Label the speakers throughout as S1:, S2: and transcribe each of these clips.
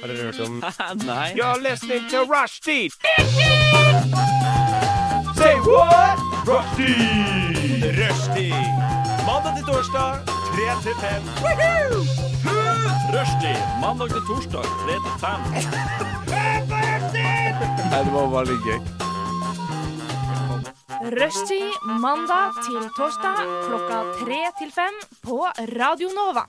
S1: Har dere hørt om
S2: Nei.
S3: You're listening to Rushdie. Say what? Rushdie. Rushdie. Mandag til torsdag, 3 til 5.
S2: Rushtid mandag til torsdag 3 til 5.
S4: Rushtid mandag til torsdag klokka tre til fem på Radio Nova.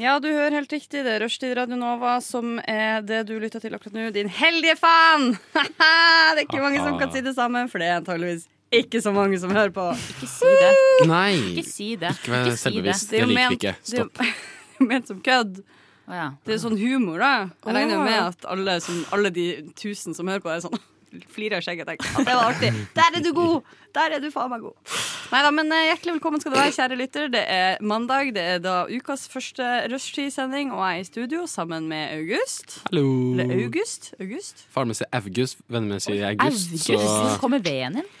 S5: Ja, du hører helt riktig. Det er Rushtid Radio Nova som er det du lytter til akkurat nå. Din heldige fan! det er ikke mange som kan si det samme, for det er antageligvis ikke så mange som hører på.
S6: Ikke si det.
S1: Nei!
S6: Ikke si det.
S1: Ikke vær
S6: Ikke si det.
S1: selvbevisst. Det
S5: jo
S1: liker vi
S5: ment-
S1: ikke.
S5: det er jo-
S1: Stopp.
S5: det er jo ment som kødd.
S6: Å ja.
S5: Det er jo sånn humor, da. Jeg regner jo med at alle, som, alle de tusen som hører på, er sånn flirer av skjegget og tenker at det var artig. Der er du god! Der er du faen meg god. Nei da, men eh, hjertelig velkommen skal du være, kjære lytter. Det er mandag. Det er da ukas første rushtidssending, og jeg er i studio sammen med August.
S1: Hallo.
S5: Eller August? August?
S1: Faren min sier August, vennene mine sier August.
S6: August,
S1: Så
S6: så kommer V-en inn.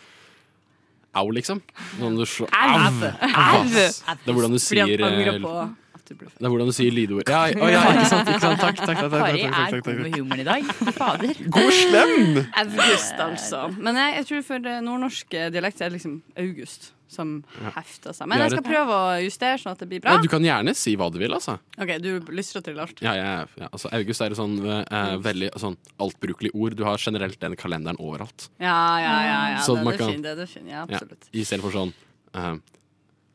S1: au, liksom. Sånn du slår
S5: Au.
S1: Au. ass. Det er hvordan du
S5: Fordi
S1: sier
S5: han angrer
S1: eh,
S5: på at du ble født.
S1: Det er hvordan du sier lydord. Ja, å ja, ikke sant, ikke sant. Takk, takk, takk. takk, takk,
S6: Kari
S1: takk,
S6: er god
S1: takk,
S6: med humoren i dag. Fy Fader.
S1: God slem!
S5: August, altså. Men jeg, jeg tror for eh, nordnorsk dialekt er det liksom august som hefter seg. Men
S1: Vi har
S5: jeg skal
S1: et-
S5: prøve å justere sånn at det blir bra.
S1: Ja, du kan gjerne si hva du vil, altså.
S5: OK, du lystrer til alt.
S1: Ja, ja, ja. altså August er et sånn eh, veldig sånn altbrukelig ord. Du har generelt den kalenderen overalt.
S5: Ja, ja, ja. ja.
S1: Sånn
S5: det,
S1: man
S5: det, er
S1: kan-
S5: fin, det, det er fin. Ja,
S1: Ja.
S5: absolutt.
S1: I stedet for sånn eh,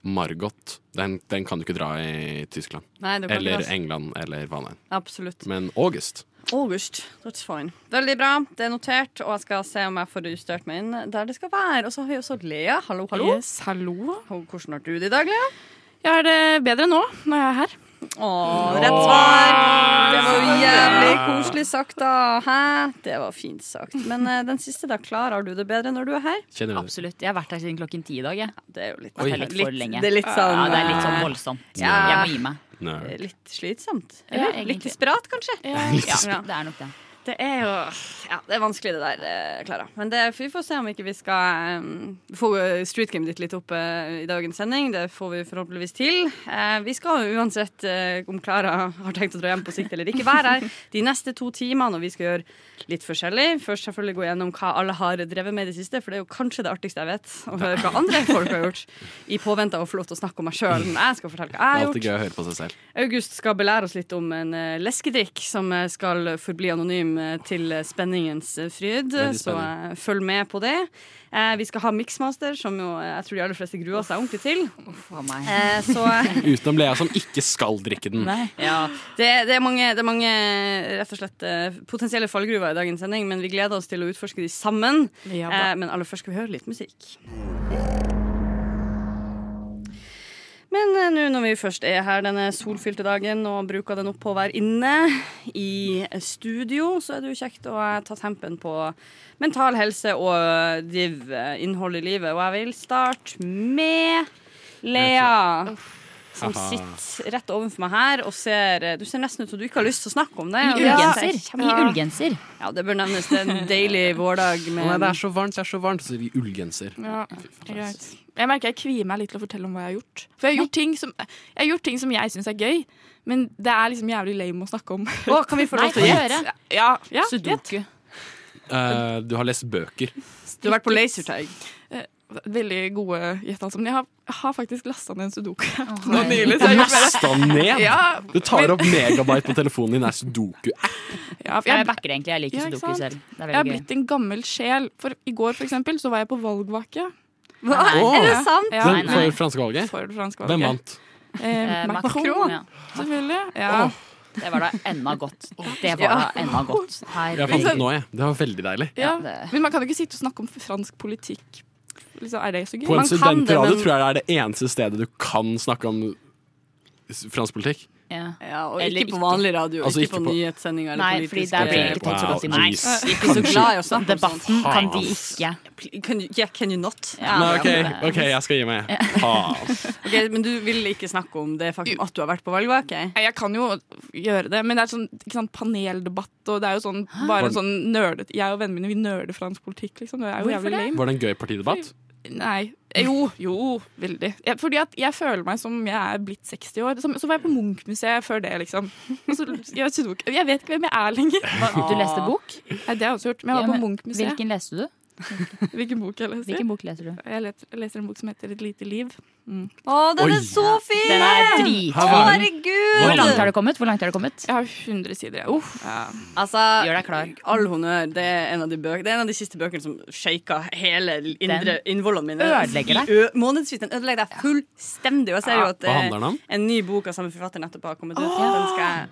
S1: Margot. Den, den kan du ikke dra i Tyskland.
S5: Nei, det altså. kan
S1: Eller
S5: ikke være-
S1: England eller hva enn.
S5: Absolutt.
S1: Men August
S5: August. That's fine. Veldig bra. Det er notert, og jeg skal se om jeg får justert meg inn der det skal være. Og så har vi også Lea. Hallo, hallo.
S7: Yes, hallo.
S5: Og Hvordan har du det i dag, Lea?
S7: Jeg har det bedre nå når jeg er her.
S5: Å, rett svar! Det var jo jævlig koselig sagt, da. Hæ? Det var fint sagt. Men eh, den siste, da. Klarer du det bedre når du er her?
S1: kjenner du det?
S6: Absolutt. Jeg har vært her siden klokken ti i dag. Jeg.
S5: Det er jo litt,
S1: Oi.
S6: Det er litt for lenge.
S5: Det er litt sånn,
S6: ja, det er litt sånn
S5: eh,
S6: voldsomt.
S5: Ja.
S6: Jeg må gi meg.
S1: Nei.
S5: eh, litt slitsomt.
S6: Ja,
S5: Eller
S6: egentlig.
S5: litt desperat, kanskje.
S6: Ja,
S5: Ja.
S7: sånn.
S6: det er nok det.
S5: Det er jo Ja, det er vanskelig, det der, eh, Klara. Men det, vi får se om ikke vi skal um, få eh, street game ditt litt opp eh, i dagens sending. Det får vi forhåpentligvis til. Eh, vi skal jo uansett, eh, om Klara har tenkt å dra hjem på sikt eller ikke, være her de neste to timene, og vi skal gjøre litt forskjellig. Først selvfølgelig gå gjennom hva alle har drevet med i det siste, for det er jo kanskje det artigste jeg vet, å høre hva andre folk har gjort, i påvente av å få lov til å snakke om meg sjøl. Men jeg skal
S1: Det
S5: fortelle hva
S1: er
S5: jeg har gjort.
S1: alltid gøy å høre på seg selv.
S5: August skal belære oss litt om en eh, leskedrikk som eh, skal forbli anonym eh, til eh, spenningens eh, fryd,
S1: Veldig
S5: så eh, følg med på det. Eh, vi skal ha Mixmaster, som jo eh, jeg tror de aller fleste gruer seg ordentlig til.
S6: Uff a meg.
S5: Eh, så eh,
S1: Utenom Lea, som ikke skal drikke den.
S6: Nei.
S5: ja, det, det, er mange, det er mange eh, rett og slett eh, potensielle fallgruver i dagens sending, men vi gleder oss til å utforske de sammen.
S7: Ja,
S5: Eh, men aller først skal vi høre litt musikk. Men eh, nå når vi først er her denne solfylte dagen og bruker den opp på å være inne i studio, så er det jo kjekt å eh, ta tempen på mental helse og div eh, innhold i livet. Og jeg vil starte med Lea. Som
S1: Haha.
S5: sitter rett ovenfor meg her og ser eh, Du ser nesten ut som du ikke har lyst til å snakke om det.
S6: I
S5: og det synes jeg er
S6: ullgenser.
S5: kjempe-
S6: I ullgenser.
S5: Ja, det bør nevnes. Det er en deilig vårdag med
S1: Nei, det er så varmt, det er så varmt. Så sier de ullgenser.
S7: ja, greit. Jeg merker jeg kvier meg litt til å fortelle om hva jeg har gjort. For jeg har gjort ting som jeg, har gjort ting som jeg syns er gøy, men det er liksom jævlig lame å snakke om.
S5: Å, kan vi få
S6: Nei,
S5: lov
S6: få
S5: til å gjette?
S6: høre.
S7: Ja, ja gjett.
S6: Sudoku.
S1: Eh, du har lest bøker.
S5: Du har vært på lasertag.
S7: Veldig gode gjettanser. Men jeg har, jeg har faktisk lasta ned en sudoku
S6: Å,
S7: nå
S6: herregud.
S7: nylig. Så jeg har gjort mer.
S1: Lasta ned!
S7: Ja,
S1: Du tar opp megabyte på telefonen din, er sudoku-app.
S7: ja, for
S6: Jeg
S7: jeg,
S6: backer det egentlig. Jeg liker
S7: Ja, ikke
S6: sudoku
S7: sant?
S6: selv. Det er
S7: jeg har
S6: veldig gøy.
S7: blitt en gammel sjel. For i går, for eksempel, så var jeg på valgvake.
S5: Hva?
S1: Åh.
S5: Er det sant?
S7: Ja,
S6: Nei,
S1: Den
S6: nei.
S1: for franske valget.
S7: for det franske valget.
S1: Hvem vant?
S7: Eh,
S6: Eh,
S7: Macron,
S6: Macron, ja.
S7: selvfølgelig. Ja.
S6: Det var da enda godt. Det var da enda godt.
S1: Jeg fant
S6: Herregud.
S1: den nå, jeg. Det var veldig deilig.
S6: Ja,
S7: Ja.
S6: det-
S7: Men man kan jo ikke sitte og snakke om fransk politikk. Liksom, er det så gøy?
S1: På en
S5: Man kan det,
S1: studentradio
S5: men-
S1: tror jeg det er det eneste stedet du kan snakke om s- fransk politikk.
S6: Ja.
S5: Ja, og
S6: Eller
S5: ikke på
S6: ikke.
S5: vanlig radio,
S1: Altså,
S5: ikke
S1: ikke
S5: på
S1: på- Eh,
S5: nyhetssendinger eller
S6: Nei, fordi
S5: politiske
S6: der blir det ikke tatt så
S1: Wow,
S6: godt imot.
S1: jeez.
S5: Jeg er ikke så glad i å snakke om sånt.
S6: Debatten kan de ikke.
S5: Can you, yeah, can you not?
S6: Ja.
S1: Nei,
S5: det
S1: OK,
S5: er
S6: det.
S1: ok, jeg skal gi meg. Faen.
S5: bra. Ok, men du vil ikke snakke om det faktum at du har vært på valgvake?
S7: Nei, Jeg kan jo gjøre det, men det er sånn ikke sant, paneldebatt, og det er jo sånn bare en sånn nerdet Jeg og vennene mine vi nerder fransk politikk, liksom. Det er jo
S6: Hvorfor
S7: jævlig
S6: det?
S7: lame.
S1: Var det en gøy partidebatt?
S7: Nei. Jo, jo, veldig. Jeg, fordi at jeg føler meg som jeg er blitt 60 år. Som, så var jeg på Munch-museet før det, liksom. Og Så, jeg, vet ikke- jeg vet ikke hvem jeg er lenger.
S6: Du leste bok?
S7: Nei, det har jeg også gjort. Men jeg
S6: Ja,
S7: var
S6: men
S7: på Munch-museet. Hvilken,
S6: Hvilken leste du?
S7: bok jeg leser?
S6: Hvilken bok leser du?
S7: Jeg leser, jeg leser en bok som heter Et lite liv.
S5: Å, den
S1: Oi.
S5: er så fin!
S6: Den er drit.
S5: Å,
S6: Hvor langt
S5: herregud!
S6: har det kommet? Hvor langt har det kommet?
S7: Jeg har 100 sider. jeg. Uff. Ja.
S5: Altså,
S6: Gjør deg klar.
S5: all honnør. Det er en av de, bøk, det er en av de siste bøkene som shaka hele indre
S6: Den
S5: innvollene mine.
S6: ødelegger deg.
S5: I ø- Månedsvis. Den ødelegger deg fullstendig. Og jeg ser jo at
S1: Hva handler den om?
S5: eh, en ny bok av samme forfatter nettopp har kommet ut. Den skal jeg,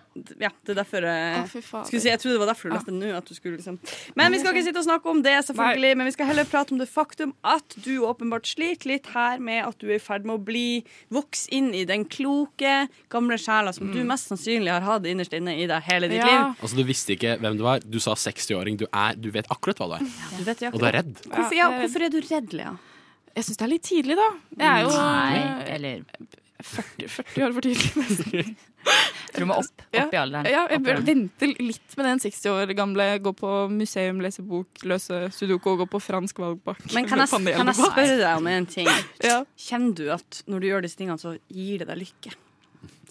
S5: ja, det er derfor eh,
S7: Å, fy fader.
S5: skulle si, Jeg trodde det var derfor du leste den nå. At du skulle liksom. Men vi skal ikke sitte og snakke om det, selvfølgelig. Men vi skal heller prate om det faktum at du åpenbart sliter litt her med at du er i ferd med å bli vokse inn i den kloke, gamle sjela som du mest sannsynlig har hatt innerst inne i deg hele ditt
S7: Ja.
S5: liv.
S1: Altså, Du visste ikke hvem du var. Du sa 60-åring. Du, er- du vet akkurat hva du er.
S5: Du vet jo
S1: Og du er redd.
S5: Hvorfor, ja,
S7: Ja, det er-
S5: hvorfor er du redd, Lea?
S7: Jeg syns det er litt tidlig, da. Jeg er jo
S6: Nei,
S7: eh,
S6: eller
S7: 40, 40 år for tidlig.
S6: tror du må opp, opp i alderen.
S7: Ja, jeg
S6: Opp i
S7: bør
S6: alderen.
S7: vente litt med den 60 år gamle gå på museum, lese bok, løse sudoku og gå på fransk valgbakk.
S5: Men kan jeg,
S7: med
S5: kan jeg
S7: paneldebatt.
S5: spørre deg om en ting?
S7: Ja.
S5: Kjenner du at når du gjør disse tingene, så gir det deg lykke?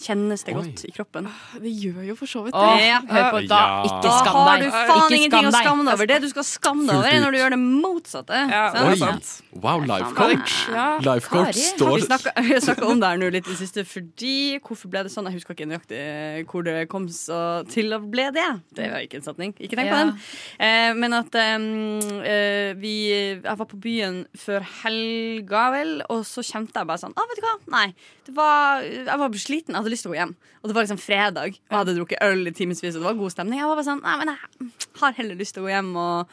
S5: Kjennes det
S1: Oi.
S5: godt i kroppen?
S7: Det gjør jo for så vidt det.
S6: Åh,
S5: Ja.
S6: hør på, da.
S1: Ja.
S6: Ikke
S5: Da
S6: skam
S5: har
S6: deg.
S5: du faen
S6: Ikke
S5: ingenting å
S6: deg.
S5: skamme deg over. Det du skal skamme deg over, er
S1: Fullt
S5: når du
S1: ut.
S5: gjør det motsatte.
S7: Ja,
S5: Sant?
S1: Oi.
S7: det er sant.
S1: Wow, life
S5: Faen.
S1: coach.
S7: Ja.
S1: Life coach
S6: Kari.
S5: Vi
S1: står
S5: snakka vi snakka om det her nå litt i det siste fordi Hvorfor ble det sånn? Jeg husker ikke nøyaktig hvor det kom så til å ble det. Det var ikke en setning. Ikke tenk på den.
S6: Ja.
S5: Eh, men at em, eh, vi Jeg var på byen før helga, vel, og så kjente jeg bare sånn ah, Vet du hva? Nei. Det var, jeg var sliten. Jeg hadde lyst til å gå hjem. Og det var liksom fredag. Og jeg hadde drukket øl i timevis, og det var god stemning. Jeg var bare sånn Nei, men jeg har heller lyst til å gå hjem og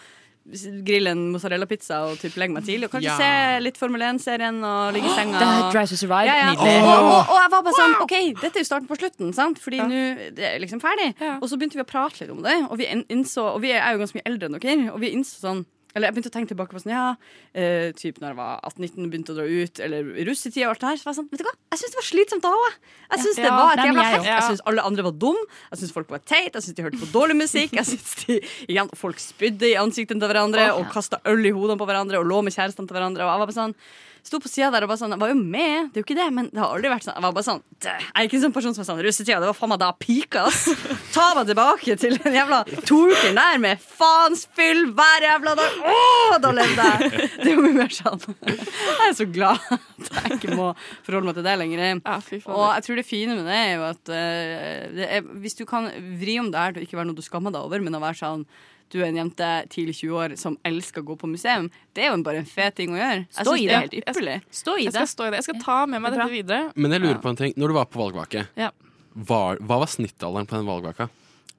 S5: grille en mozzarella-pizza og typ legge meg tidlig. Og kanskje
S1: Ja.
S5: se litt Formel 1-serien og ligge i senga.
S6: Det er
S5: og-
S6: Drive to Survive.
S5: ja, ja.
S6: Nydelig.
S5: Og, og, og jeg var bare sånn, ok, dette er jo starten på slutten, sant? Fordi nå det er liksom ferdig.
S7: Ja.
S5: Og så begynte vi å prate litt om det, og vi, in- innså, og vi er jo ganske mye eldre enn dere, og vi innså sånn, eller jeg begynte å tenke tilbake på sånn, ja, eh, typ når jeg var 18-19 begynte å dra ut, eller i russetida og alt det her, så var jeg sånn, vet du hva, jeg synes det var slitsomt da også. Jeg synes det
S7: Ja.
S5: var et
S6: Nei, men
S5: jævla
S6: jeg
S5: hekk.
S7: også.
S5: Jeg synes alle andre var dum, jeg synes folk var teit, jeg synes de hørte på dårlig musikk, jeg synes de, igjen, folk spydde i ansikten til hverandre,
S6: Åh,
S5: og
S6: ja.
S5: kastet øl i hodene på hverandre, og lå med kjærestene til hverandre, og jeg var bare sånn, Sto på sida der og bare sånn Jeg var jo med, det er jo ikke det, men det har aldri vært sånn. Jeg var bare sånn «Dæ, Jeg er ikke en sånn person som er sånn Russetida, det var faen meg da jeg pika, ass. Ta meg tilbake til den jævla toukeren der med faens fyll hver jævla dag. Å, da levde jeg! Det er jo mye mer sånn. Jeg er så glad at jeg ikke må forholde meg til det lenger.
S7: Ja, fy fader.
S5: Og jeg tror det fine med det er jo at eh, det er, hvis du kan vri om det her til å ikke være noe du skammer deg over, men å være sånn du er en jente tidlig 20 år som elsker å gå på museum. Det er jo bare en fet ting å gjøre. Jeg
S6: Stå
S5: synes
S6: i
S5: det
S6: det.
S5: er helt ypperlig.
S6: Stå i
S7: Jeg
S6: det.
S7: skal stå i det. Jeg skal ta med meg
S6: Det er
S7: dette videre.
S1: Men jeg lurer på en ting. Når du var på valgvake,
S7: Ja.
S1: var, hva var snittalderen på den valgvaka?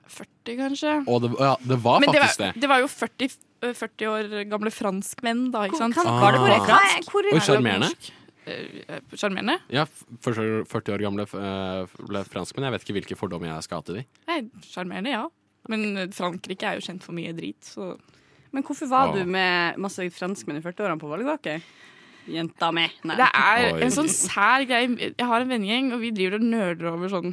S7: 40, kanskje.
S1: Og det, ja, det var
S7: Men det
S1: faktisk
S7: var,
S1: det.
S7: det var jo 40, eh, 40 år gamle franskmenn, da, ikke sant?
S1: Var det korrekt?
S5: Hva er-
S1: Ah.
S5: hvor-
S1: Oi, sjarmerende.
S7: Eh, Sjarmerende?
S1: Ja, f- for så- 40 år gamle eh, ble franskmenn. Jeg vet ikke hvilke fordommer jeg skal ha til de.
S7: Nei, sjarmerende, ja. Men Frankrike er jo kjent for mye drit, så
S5: Men hvorfor var
S1: Åh.
S5: du med masse franskmenn i 40-årene på valgvake? Jenta mi. Nei.
S7: Det er
S1: Oi.
S7: en sånn sær greie. Jeg har en vennegjeng, og vi driver og nerder over sånn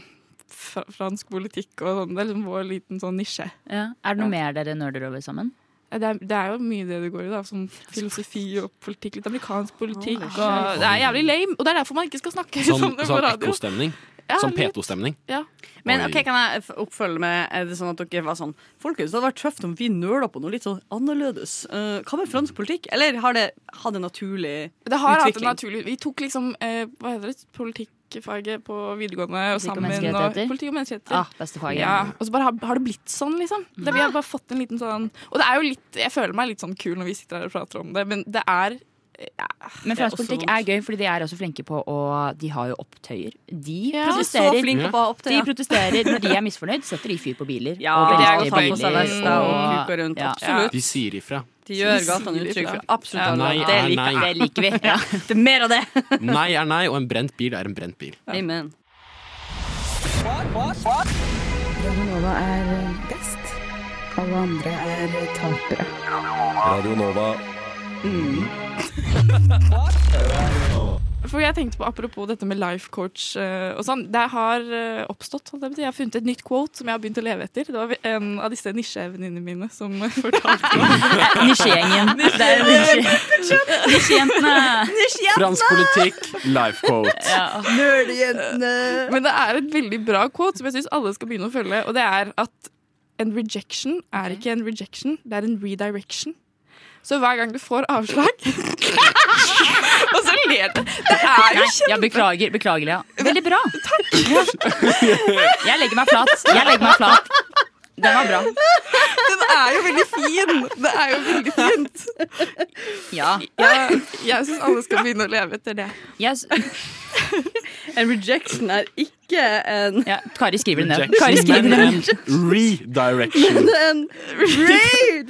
S7: fra- fransk politikk og sånn. Det er liksom vår liten sånn nisje.
S6: Ja. Er det noe mer dere nerder over sammen?
S7: Eh, Det er, det er jo mye det det går i, da. Som filosofi og politikk. Litt amerikansk politikk.
S5: Åh,
S7: Og det er jævlig lame, og det er derfor man ikke skal snakke
S1: Sånn,
S7: om det på
S1: sånn
S7: radio.
S1: ekkostemning.
S7: Ja,
S1: Sånn
S7: litt.
S1: P2-stemning.
S7: Ja.
S5: Men
S1: Oi.
S5: ok, kan jeg f- oppfølge med Er det sånn at dere var sånn Folkens, det hadde vært tøft om vi nøla på noe litt sånn annerledes. Eh, hva med fransk politikk? Eller har det hatt en naturlig
S7: Det har hatt en
S5: Utvikling.
S7: naturlig Vi tok liksom eh, hva heter det, politikkfaget på videregående
S6: Politikk
S7: og
S6: og
S7: sammen.
S6: menneskerettigheter?
S7: politikk og menneskerettigheter.
S6: Ah, beste faget.
S7: Ja, og så bare har, har det blitt sånn, liksom. Det, vi har bare fått en liten sånn Og det er jo litt Jeg føler meg litt sånn kul når vi sitter her og prater om det, men det er ja,
S6: Men
S5: Det er
S6: fransk politikk
S5: også
S6: er gøy, fordi de er også flinke på å De har jo opptøyer. De
S7: Ja.
S5: Du er så
S6: protesterer.
S5: flink på å ha opp til
S6: De
S5: ja.
S6: protesterer når de er misfornøyd, setter de fyr på biler.
S5: Ja, de
S6: Og velger
S7: er jo
S6: ut
S7: ta på seg
S6: biler,
S7: vesta
S5: og
S6: og-
S5: kuka rundt,
S6: Ja.
S5: absolutt.
S1: De sier ifra.
S5: De gjør
S7: sier
S5: gatene
S7: det
S5: uttrykk
S7: fra.
S5: for absolutt alle.
S1: Nei
S5: det
S1: er
S5: liker jeg.
S1: nei.
S6: Det liker vi. Ja.
S5: Det er mer av det.
S1: Nei er nei, og en brent bil er en brent bil.
S5: Amen.
S3: Radio Nova.
S7: For jeg tenkte på Apropos dette med life coach eh, og sånn. Det har eh, oppstått. holdt Jeg på å si. Jeg har funnet et nytt quote som jeg har begynt å leve etter. Det var en av disse nisjevenninnene mine som eh, fortalte
S6: Nisjegjengen. Det er nisje- Nisjejentene.
S1: Fransk politikk, life quote.
S6: Ja.
S7: Men det er et veldig bra quote som jeg syns alle skal begynne å følge, og det er at en rejection er ikke en rejection, det er en redirection. Så hver gang du får avslag Og så ler du. Det er jo
S6: Nei, jeg beklager, beklager, Lea. Veldig bra. Takk. Jeg legger meg flat. Jeg legger meg flat. Den var bra.
S7: Den er jo veldig fin! Det er jo veldig fint.
S6: Ja.
S7: Jeg, jeg syns alle skal begynne å leve etter det.
S6: Jeg, s-
S5: En rejection er ikke en
S6: ja. Kari skriver det ned.
S1: Rejection,
S6: Kari skriver det
S1: men
S6: ned.
S1: en redirection.
S5: en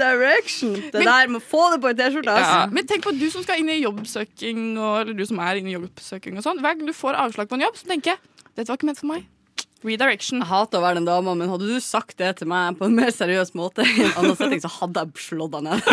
S5: redirection! Det der må få det på en T-skjorte,
S7: Ja.
S5: altså.
S7: Men tenk på du som skal inn i jobbsøking, og, eller du som er inne i jobbsøking og sånn. Hver gang du får avslag på en jobb, så tenker jeg dette var ikke ment for meg. Redirection.
S5: Jeg hater å være den dama, men hadde du sagt det til meg på en mer seriøs måte, i en annen setting, så hadde jeg slått deg ned.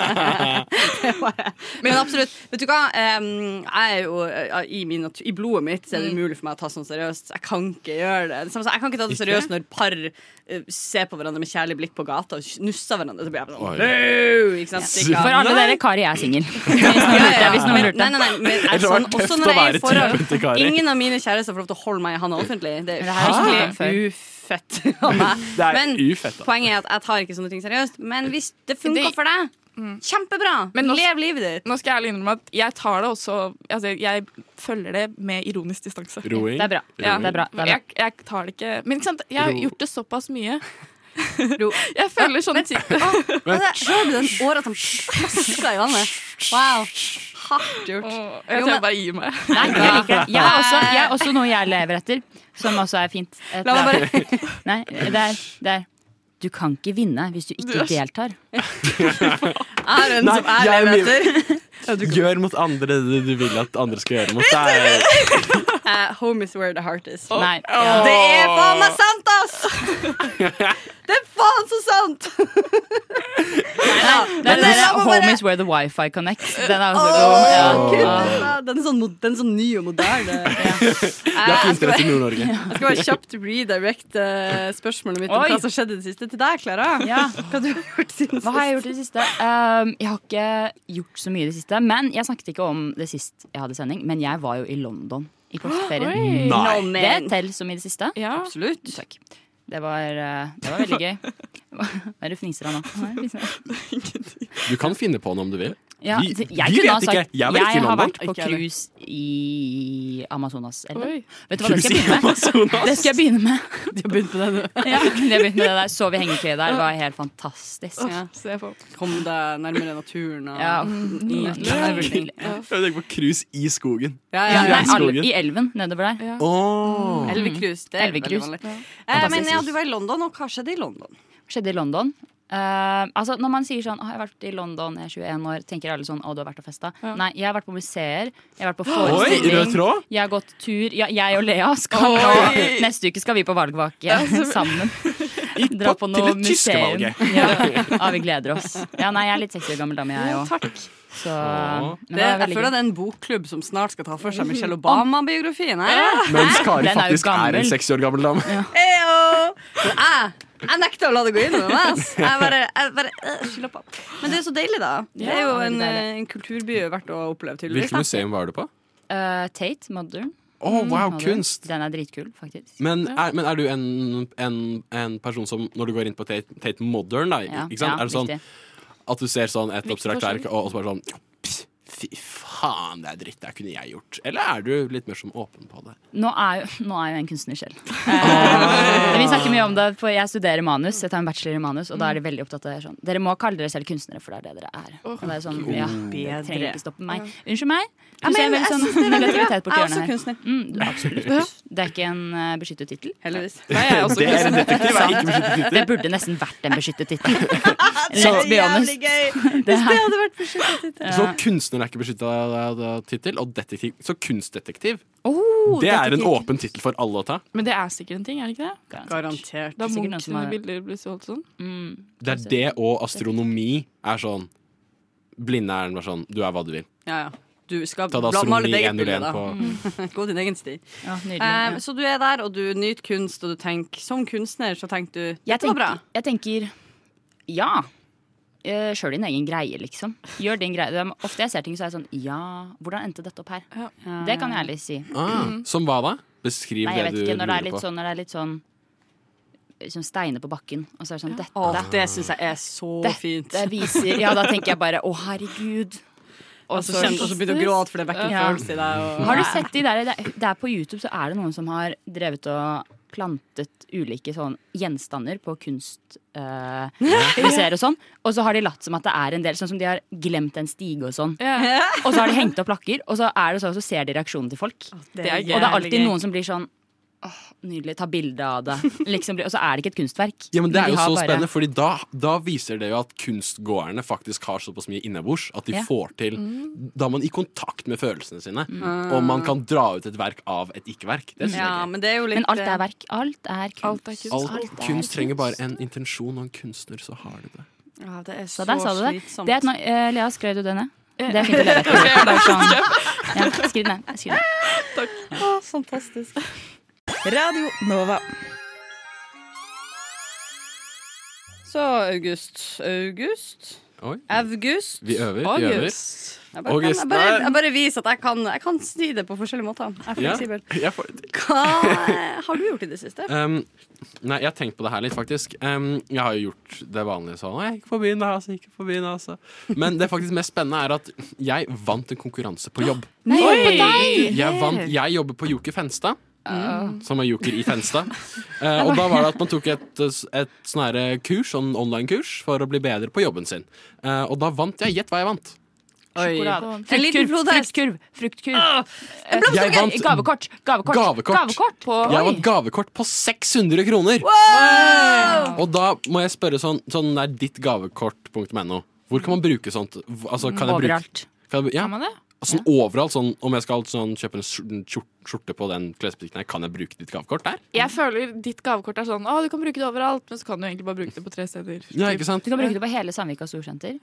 S5: Det var jeg. men absolutt. Vet du hva? Em, Jeg er jo eh, i, min natu- I blodet mitt så er det umulig for meg å ta sånn seriøst. Jeg kan ikke gjøre det. det. samme som- Jeg kan ikke ta det seriøst når par eh, ser på hverandre med kjærlig blikk på gata og knusser hverandre. Så blir jeg
S1: Oi.
S5: sånn «Au!» ikke sant? Stikker av.
S6: For alle dere, Kari er singel. Hvis noen lurte. Hvis noen
S5: Men-
S6: lurte.
S5: Nei, nei, nei, men jeg,
S1: Eller det var
S5: sånn,
S1: tøft
S5: også
S1: å
S5: når jeg er i
S1: være typen til
S5: forhold
S1: Kari.
S5: Ingen av mine kjærester får lov til å holde meg i handa offentlig. Det
S6: Det
S5: er
S6: her har jeg ikke
S5: skikkelig ufett av meg.
S1: Det er
S5: Men
S1: ufett, da.
S5: poenget er at jeg tar ikke sånne ting seriøst. Men hvis det
S7: Det-
S5: funker for deg,
S6: Mm.
S5: kjempebra!
S7: Men nå-
S5: Lev livet ditt.
S7: Nå skal jeg ærlig innrømme at jeg tar det også altså Jeg følger det med ironisk distanse.
S1: Roing.
S6: Det er bra.
S1: Ja.
S6: Det er bra. Det er bra.
S7: Jeg, jeg tar det ikke Men ikke sant? jeg har
S1: Ro.
S7: gjort det såpass mye. Jeg føler sånn sånne ting
S5: Altså, Hører du den åra som plasker i vannet? Wow. Hardt gjort.
S7: Åh,
S5: Jo,
S7: Jeg tror
S5: men-
S7: jeg bare gir meg.
S6: Nei, jeg liker det. Jeg er også, jeg er også noe jeg lever etter, som også er fint. Et
S5: La meg
S6: lag- Nei, det er, det er Du kan ikke vinne hvis du ikke deltar.
S5: Jeg er en
S1: Nei,
S5: som jeg
S1: jeg er
S5: lever etter.
S1: Gjør mot andre det du vil at andre skal gjøre mot deg.
S5: Eh, home is where the heart is.
S6: Nei.
S5: Det er faen meg sant, ass! Det er faen så sant!
S6: Det er,
S5: Men dere må bare-
S6: home is where the wifi connects. Den er også
S5: Åh,
S6: dum.
S5: Gud,
S6: Ja.
S5: Den er sånn, mo- den er sånn ny og moderne.
S1: Det er
S5: Jeg skal
S1: interesse
S5: bare-
S1: i Nord-Norge.
S5: jeg skal bare kjapt redirecte spørsmålet mitt om
S6: Oi.
S5: hva som skjedde i det siste, til deg, Klara.
S6: Ja.
S5: Hva du har gjort siden
S6: Hva har jeg gjort i det siste? Um, jeg har ikke gjort så mye i det siste. Men jeg snakket ikke om det sist jeg hadde sending, men jeg var jo i London i påskeferien.
S1: Nei.
S5: Nå,
S6: Det
S5: men.
S6: teller som i det siste.
S7: Ja.
S5: Absolutt.
S6: Det var, eh, det var veldig gøy. Hva er det du fniser av nå? Hva er det du fniser av?
S1: Du kan finne på den om du vil.
S6: Ja,
S1: Vi-
S6: det-
S1: vi
S6: kunne
S1: vet
S6: ha sagt-
S1: ikke. Jeg var ikke i
S6: har
S1: London.
S6: vært på
S5: Ikke jeg
S6: cruise i Amazonaselven.
S7: Oi.
S6: Vet du hva, det skal jeg begynne med. Det skal jeg begynne med.
S5: De har begynt med det nå.
S6: Ja, det begynte med det der. Sov i hengekøye der, det var helt fantastisk.
S5: Ja.
S7: Se på.
S5: Kom deg nærmere naturen. Og...
S6: Mm. Ja,
S5: Ja, det er veldig nydelig.
S1: Jeg tenker på cruise i skogen.
S5: Ja,
S6: Ja,
S5: ja,
S6: nei,
S5: ja.
S6: alle, I elven nedover der. Mm.
S1: Åh.
S5: Elvekrus. Det er veldig
S6: Elvekrus.
S5: vanlig. Eh,
S6: Fantastisk.
S5: men ja, du var i London, og hva skjedde i London?
S6: Skjedde i London. Eh, altså Når man sier sånn «Å, 'Jeg har vært i London, jeg er 21 år', tenker alle sånn 'Å, du har vært og festa'. Nei, jeg har vært på museer, jeg har vært på
S1: Oi, rød
S6: forestilling.
S1: tråd?
S6: jeg har gått tur. Ja, jeg og Lea skal nå Neste uke skal vi på valgvake sammen. Dra på
S1: til
S6: noe
S1: det tyske
S6: museum.
S1: valget.
S6: Ja. ja, vi gleder oss. Ja, nei, jeg er litt 60 år gammel dame, jeg òg.
S7: Takk.
S6: Så
S1: Åh.
S5: Det,
S6: men det var
S5: jeg føler
S6: veldig gøy. Mhm.
S5: det er en bokklubb som snart skal ta for seg Michelle Obama-biografien. Jeg,
S1: Mens Kari
S6: Den er jo
S1: faktisk er en
S6: gammel.
S1: 60 år gammel dame.
S5: Eyo! Men jeg, jeg nekter å la det gå inn over meg. ass. Jeg bare, jeg bare øh, skylder på. Men det er så deilig, da. Det er jo
S6: Ja,
S5: en,
S6: det er
S5: eh,
S6: deilig.
S5: en kulturby verdt å oppleve,
S1: Hvilket
S5: tydeligvis. da.
S1: museum var du på?
S6: Eh, Tate, Modern.
S1: Å, wow,
S6: Modern.
S1: kunst!
S6: Den er dritkul, faktisk.
S1: Men er, men er du en, en, en person som, når du går inn på Tate, Tate Modern, da,
S6: Ja,
S1: ikke sant?
S6: ja,
S1: er det sånn
S6: riktig.
S1: at du ser sånn et abstrakt
S7: forskjell.
S1: verk, og, og så bare sånn "Pss, Fy faen, det er dritt. Det kunne jeg gjort. Eller er du litt mer sånn åpen på det?
S6: Nå er, jo, nå er jo jeg en kunstner selv. Eh, vi snakker mye om det, for jeg studerer manus. Jeg tar en bachelor i manus, og da er de veldig opptatt av det sånn. Dere må kalle dere selv kunstnere, for det er det dere er. Og det er sånn, ja, det trenger ikke stoppe meg. Unnskyld meg? Du
S5: men
S6: ser
S5: jeg
S6: veldig sånn
S5: synes det er veldig bra.
S6: negativitet borti
S5: Jeg er også
S6: hjørnet her.
S5: kunstner.
S6: Mm, du- absolutt. Det er ikke en eh, beskyttet tittel.
S5: Heldigvis.
S7: Nei, jeg er også
S1: Det er en detektiv, er ikke beskyttet tittel.
S6: Det burde nesten vært en beskyttet tittel. Let's be honest. Det
S5: Det
S6: er,
S5: hadde vært beskyttet tittel.
S1: Så kunstner er ikke beskytta tittel, og detektiv Så kunstdetektiv,
S6: oh,
S1: det er en
S6: detektiv.
S1: åpen tittel for alle å ta.
S7: Men det er sikkert en ting, er det ikke det?
S5: Garantert.
S7: Da
S6: Sikkert noen
S7: Munch
S6: som
S7: sine
S6: har-
S7: bilder blir solgt sånn.
S6: Mm.
S1: Det er det og astronomi er sånn Blinde er den bare sånn Du er hva du vil.
S5: Ja, ja. du skal
S1: Ta da
S5: bla- male
S1: Soroni
S5: ditt eget bilde.
S1: 101
S5: da. Mm.
S1: på
S5: Gå din egen sti.
S6: Ja,
S5: Eh,
S6: nydelig.
S5: så du er der, og du nyter kunst, og du tenker Som kunstner så tenker du
S6: Jeg
S5: Dette var bra.
S6: tenker, jeg tenker ja. Eh, Sjøl din egen greie, liksom. Gjør din greie. Det er Ofte jeg ser ting, så er jeg sånn ja, hvordan endte dette opp her? Det kan jeg ærlig si.
S1: ah, Som hva da? Beskriv
S6: Mm. Nei,
S1: det
S6: jeg vet
S1: du
S6: ikke. Når det er
S1: lurer
S6: litt
S1: på.
S6: sånn, når det er litt sånn Sånn steiner på bakken, og så er det sånn dette,
S5: Å, det syns jeg er så fint.
S6: dette viser Ja, da tenker jeg bare å, herregud.
S5: Og så kjenner du Altså, og så begynner du å gråte, for det vekker en
S6: Ja.
S5: følelse i deg. Og...
S6: Har du sett de der, det er- det er på YouTube så er det noen som har drevet og plantet ulike sånn gjenstander på kunstmuseer og sånn. Og så har de latt som at det er en del, sånn som de har glemt en stige og sånn. Og så har de hengt opp lakker, og så er det sånn, så ser de reaksjonen til folk.
S5: Det er
S6: Og det er alltid noen som blir sånn Åh, nydelig, ta bilde av det. Liksom, blir- og så er det ikke et kunstverk.
S1: Ja, men Det
S6: Men
S1: er
S6: de
S1: jo
S6: har
S1: så
S6: bare-
S1: spennende, Fordi da, da viser det jo at kunstgåerne faktisk har såpass mye innabords at de
S6: Ja. Mm.
S1: får til Da er man i kontakt med følelsene sine, og man kan dra ut et verk av et ikke-verk. Det synes
S5: Ja,
S1: jeg
S5: men det er jo litt eh,
S6: Men alt er verk. Alt er kunst.
S7: Alt er kunst.
S1: ikke. All
S6: Alt er
S1: kunst trenger bare en intensjon og en kunstner, så har du det.
S5: Ja, det er så,
S6: Så der sa du det.
S5: slitsomt.
S6: det er et, no- eh, Lea, skrev du det ned? Det er fint å leve etter. Bare sånn. Ja, skriv det ned. Skriv det. ned.
S5: fantastisk.
S8: Radio Nova.
S5: Så August August?
S1: Oi.
S5: August?
S1: Vi øver. vi øver.
S7: August.
S5: Jeg bare,
S1: August,
S5: kan, jeg bare,
S1: nei.
S5: jeg bare viser at jeg kan, jeg kan si det på forskjellige måter. Jeg er
S1: Ja,
S5: fleksibel.
S1: jeg får det til.
S5: Hva eh, har du gjort i det siste?
S1: Um, nei, jeg har tenkt på det her litt, faktisk. Um, jeg har jo gjort det vanlige sånn. «Å, Jeg gikk på byen, da, altså. jeg Gikk på byen, da, altså. Men det faktisk mest spennende er at jeg vant en konkurranse på jobb.
S6: Nei, på deg!
S1: Jeg, vant, jeg jobber på Joker Fenstad. Mm. Som er joker i Fenstad. Eh, og da var det at man tok et, et sånn her kurs, sånn online-kurs for å bli bedre på jobben sin. Eh, og da vant jeg. Gjett hva jeg vant.
S6: Sjokolade.
S5: En liten
S6: Fruktkurv,
S5: protest.
S6: fruktkurv, fruktkurv. Eh,
S1: Jeg vant
S6: Ah, Gavekort, gavekort.
S1: Gavekort.
S6: på
S1: Jeg vant gavekort på 600 kroner! Og da må jeg spørre sånn, sånn er ditt gavekort.no. Hvor kan man bruke sånt? Hv- Altså, kan jeg bruke,
S6: overalt.
S1: kan jeg, bru- ja,
S7: Kan man det?
S1: sånn overalt. Sånn, om jeg skal sånn, kjøpe en skjor- en skjort- skjorte på den klesbutikken her, kan jeg bruke ditt gavekort der?
S7: Jeg føler ditt gavekort er sånn Å, du kan bruke det overalt, men så kan du egentlig bare bruke det på tre steder.
S1: Ja, ikke sant?
S6: Du kan bruke det på hele Sandvika storsenter.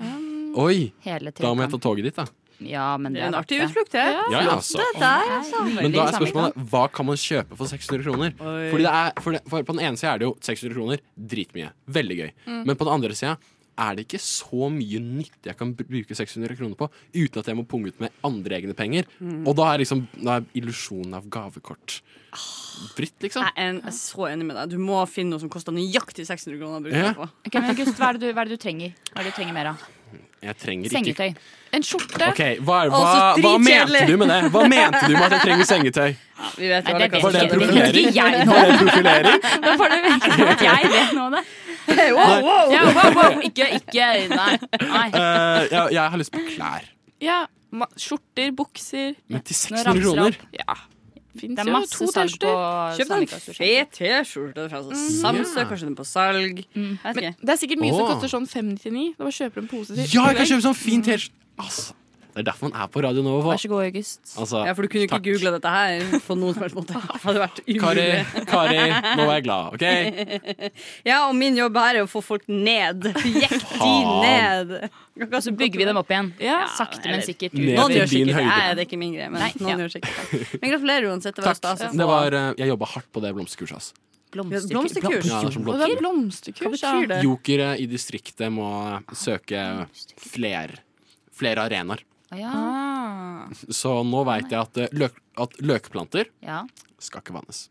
S1: Oi!
S6: Hele
S1: Da må jeg ta
S6: trekanten.
S1: toget dit, da.
S6: Ja, men det
S5: En
S6: er
S5: artig
S6: verdt det.
S5: utflukt, det.
S1: Ja, ja, altså.
S5: Det der, altså.
S1: Men da er spørsmålet hva kan man kjøpe for 600 kroner? Fordi det er, for, det, for På den ene sida er det jo 600 kroner dritmye. Veldig gøy. Men på den andre sida er det ikke så mye nyttig jeg kan br- bruke 600 kroner på uten at jeg må punge ut med andre egne penger. Og da er liksom da er illusjonen av gavekort fritt, liksom.
S5: Jeg er en- jeg er så enig med deg. Du må finne noe som koster nøyaktig 600 kroner. å bruke
S1: Ja.
S5: det på.
S6: Ok, men August, hva er, det du, hva er det du trenger? Hva er det du trenger mer av?
S1: Jeg trenger ikke
S6: Sengetøy.
S7: En skjorte.
S1: Ok, hva, er- hva,
S5: Å, så
S1: hva mente
S5: dritkjedelig.
S1: du med det? Hva mente du med at jeg trenger sengetøy?
S5: Ja, vi vet
S6: Nei,
S5: hva det
S6: det vet
S1: Var det
S5: koster.
S6: ikke jeg. Det
S1: profilering?
S6: vet ikke jeg nå.
S1: Var det profilering?
S6: Nå får det virke som at jeg vet nå det.
S5: Wow, wow.
S6: Ja, wow, wow. Ikke, ikke Nei. nei.
S1: Eh, jeg, jeg har lyst på klær.
S7: Ja. Ma skjorter, bukser.
S1: Men til
S6: Nå
S1: 600
S6: ramser
S1: kroner?
S6: jeg opp.
S7: Ja. Fins
S6: Det er
S7: jo
S6: masse
S7: to
S6: salg på
S7: T-skjorter.
S5: Kjøp deg en
S6: Sandvika storsenter.
S5: fet T-skjorte fra sånn Samsø,
S1: Ja.
S5: kanskje den er på salg. Mm, Jeg vet ikke.
S7: Det er sikkert mye som
S1: Åh.
S7: koster sånn 599. Da bare kjøper du en pose til.
S1: Ja, jeg kan kjøpe sånn fin T-skjorte! Altså, det er derfor man er på Radio Nova.
S6: Vær så god, August.
S1: Altså,
S5: Ja, for du kunne jo ikke
S1: takk.
S5: googla dette her på noen som helst måte. Det hadde vært
S1: Kari,
S5: umulig.
S1: Kari, nå var jeg glad, OK?
S5: Ja, og min jobb her er å få folk ned. Jekk de
S1: Faen.
S5: ned. Akkurat
S6: Så bygger vi dem opp igjen.
S7: Ja.
S6: Sakte, men
S5: eller-
S6: sikkert.
S1: Ned
S5: Noen
S1: til
S5: gjør
S1: din
S5: sikkert det.
S1: høyde.
S5: Jeg- Det er ikke min greie, men
S6: Nei,
S5: noen
S6: ja.
S5: gjør sikkert det. Men gratulerer uansett. Det var
S1: Takk.
S5: stas altså. å
S1: Det
S5: få.
S1: var, eh, jeg jobba hardt på det blomsterkurset. ass.
S6: Blomsterkur.
S5: Blomsterkurs.
S1: Ja, det er som
S7: Og
S1: blomster.
S7: det er blomsterkurs.
S5: Hva betyr det?
S1: Jokere i distriktet må søke fler, flere arenaer.
S6: Å, Ja.
S7: Ah.
S1: Så nå veit jeg at, eh, løk, at løkplanter
S6: ja.
S1: skal ikke vannes.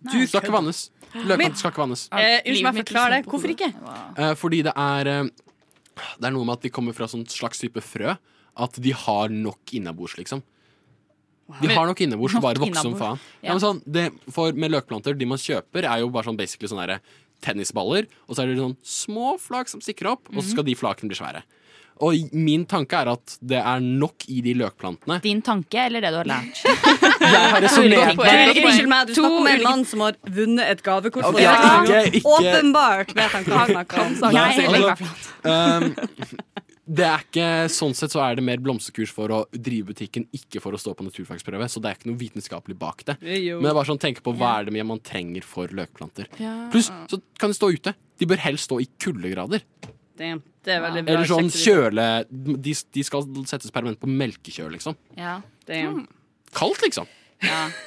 S1: Du skal ikke vannes. Løkplanter skal ikke vannes.
S5: Eh,
S7: Livet
S5: Unnskyld meg,
S7: mitt er
S5: forklar det.
S7: kjempegodt.
S5: Hvorfor ikke?
S1: Eh, Fordi det er eh, Det er noe med at de kommer fra sånn slags type frø At de har nok innabords liksom De har nok innabords til
S6: Nok
S1: bare å vokse som
S6: innabords,
S1: faen
S6: ja.
S1: ja. men sånn, det, For med løkplanter, de man kjøper Er jo bare sånn basically sånne der tennisballer Og så er det sånn små flak som stikker opp Og så
S6: Mhm.
S1: skal de flakene bli svære og i- min tanke er at det er nok i de løkplantene
S6: Din tanke, eller det du har lært?
S1: Jeg har resonert
S6: Godt poeng.
S1: på
S6: Godt
S5: Unnskyld meg, du
S6: To
S5: snakker med en
S6: ulike-
S5: mann som har vunnet et gavekort. for
S1: Ok, ja,
S5: deg.
S1: ikke- ikke-
S5: Åpenbart vet han hva han snakker om.
S1: Nei,
S6: Jeg er helt
S1: um, det er ikke, sånn sett så er det mer blomsterkurs for å drive butikken, ikke for å stå på naturfagsprøve. Så det er ikke noe vitenskapelig bak det.
S5: Jo.
S1: Men jeg bare sånn tenker på hva er det man trenger for løkplanter.
S7: Ja.
S1: Pluss så kan de stå ute. De bør helst stå i kuldegrader.
S5: Damn. Det er veldig bra.
S1: Eller sånn
S5: sexy-
S1: kjøle De, de skal settes permanent på melkekjøl, liksom.
S6: Ja.
S5: Damn.
S1: Kaldt, liksom.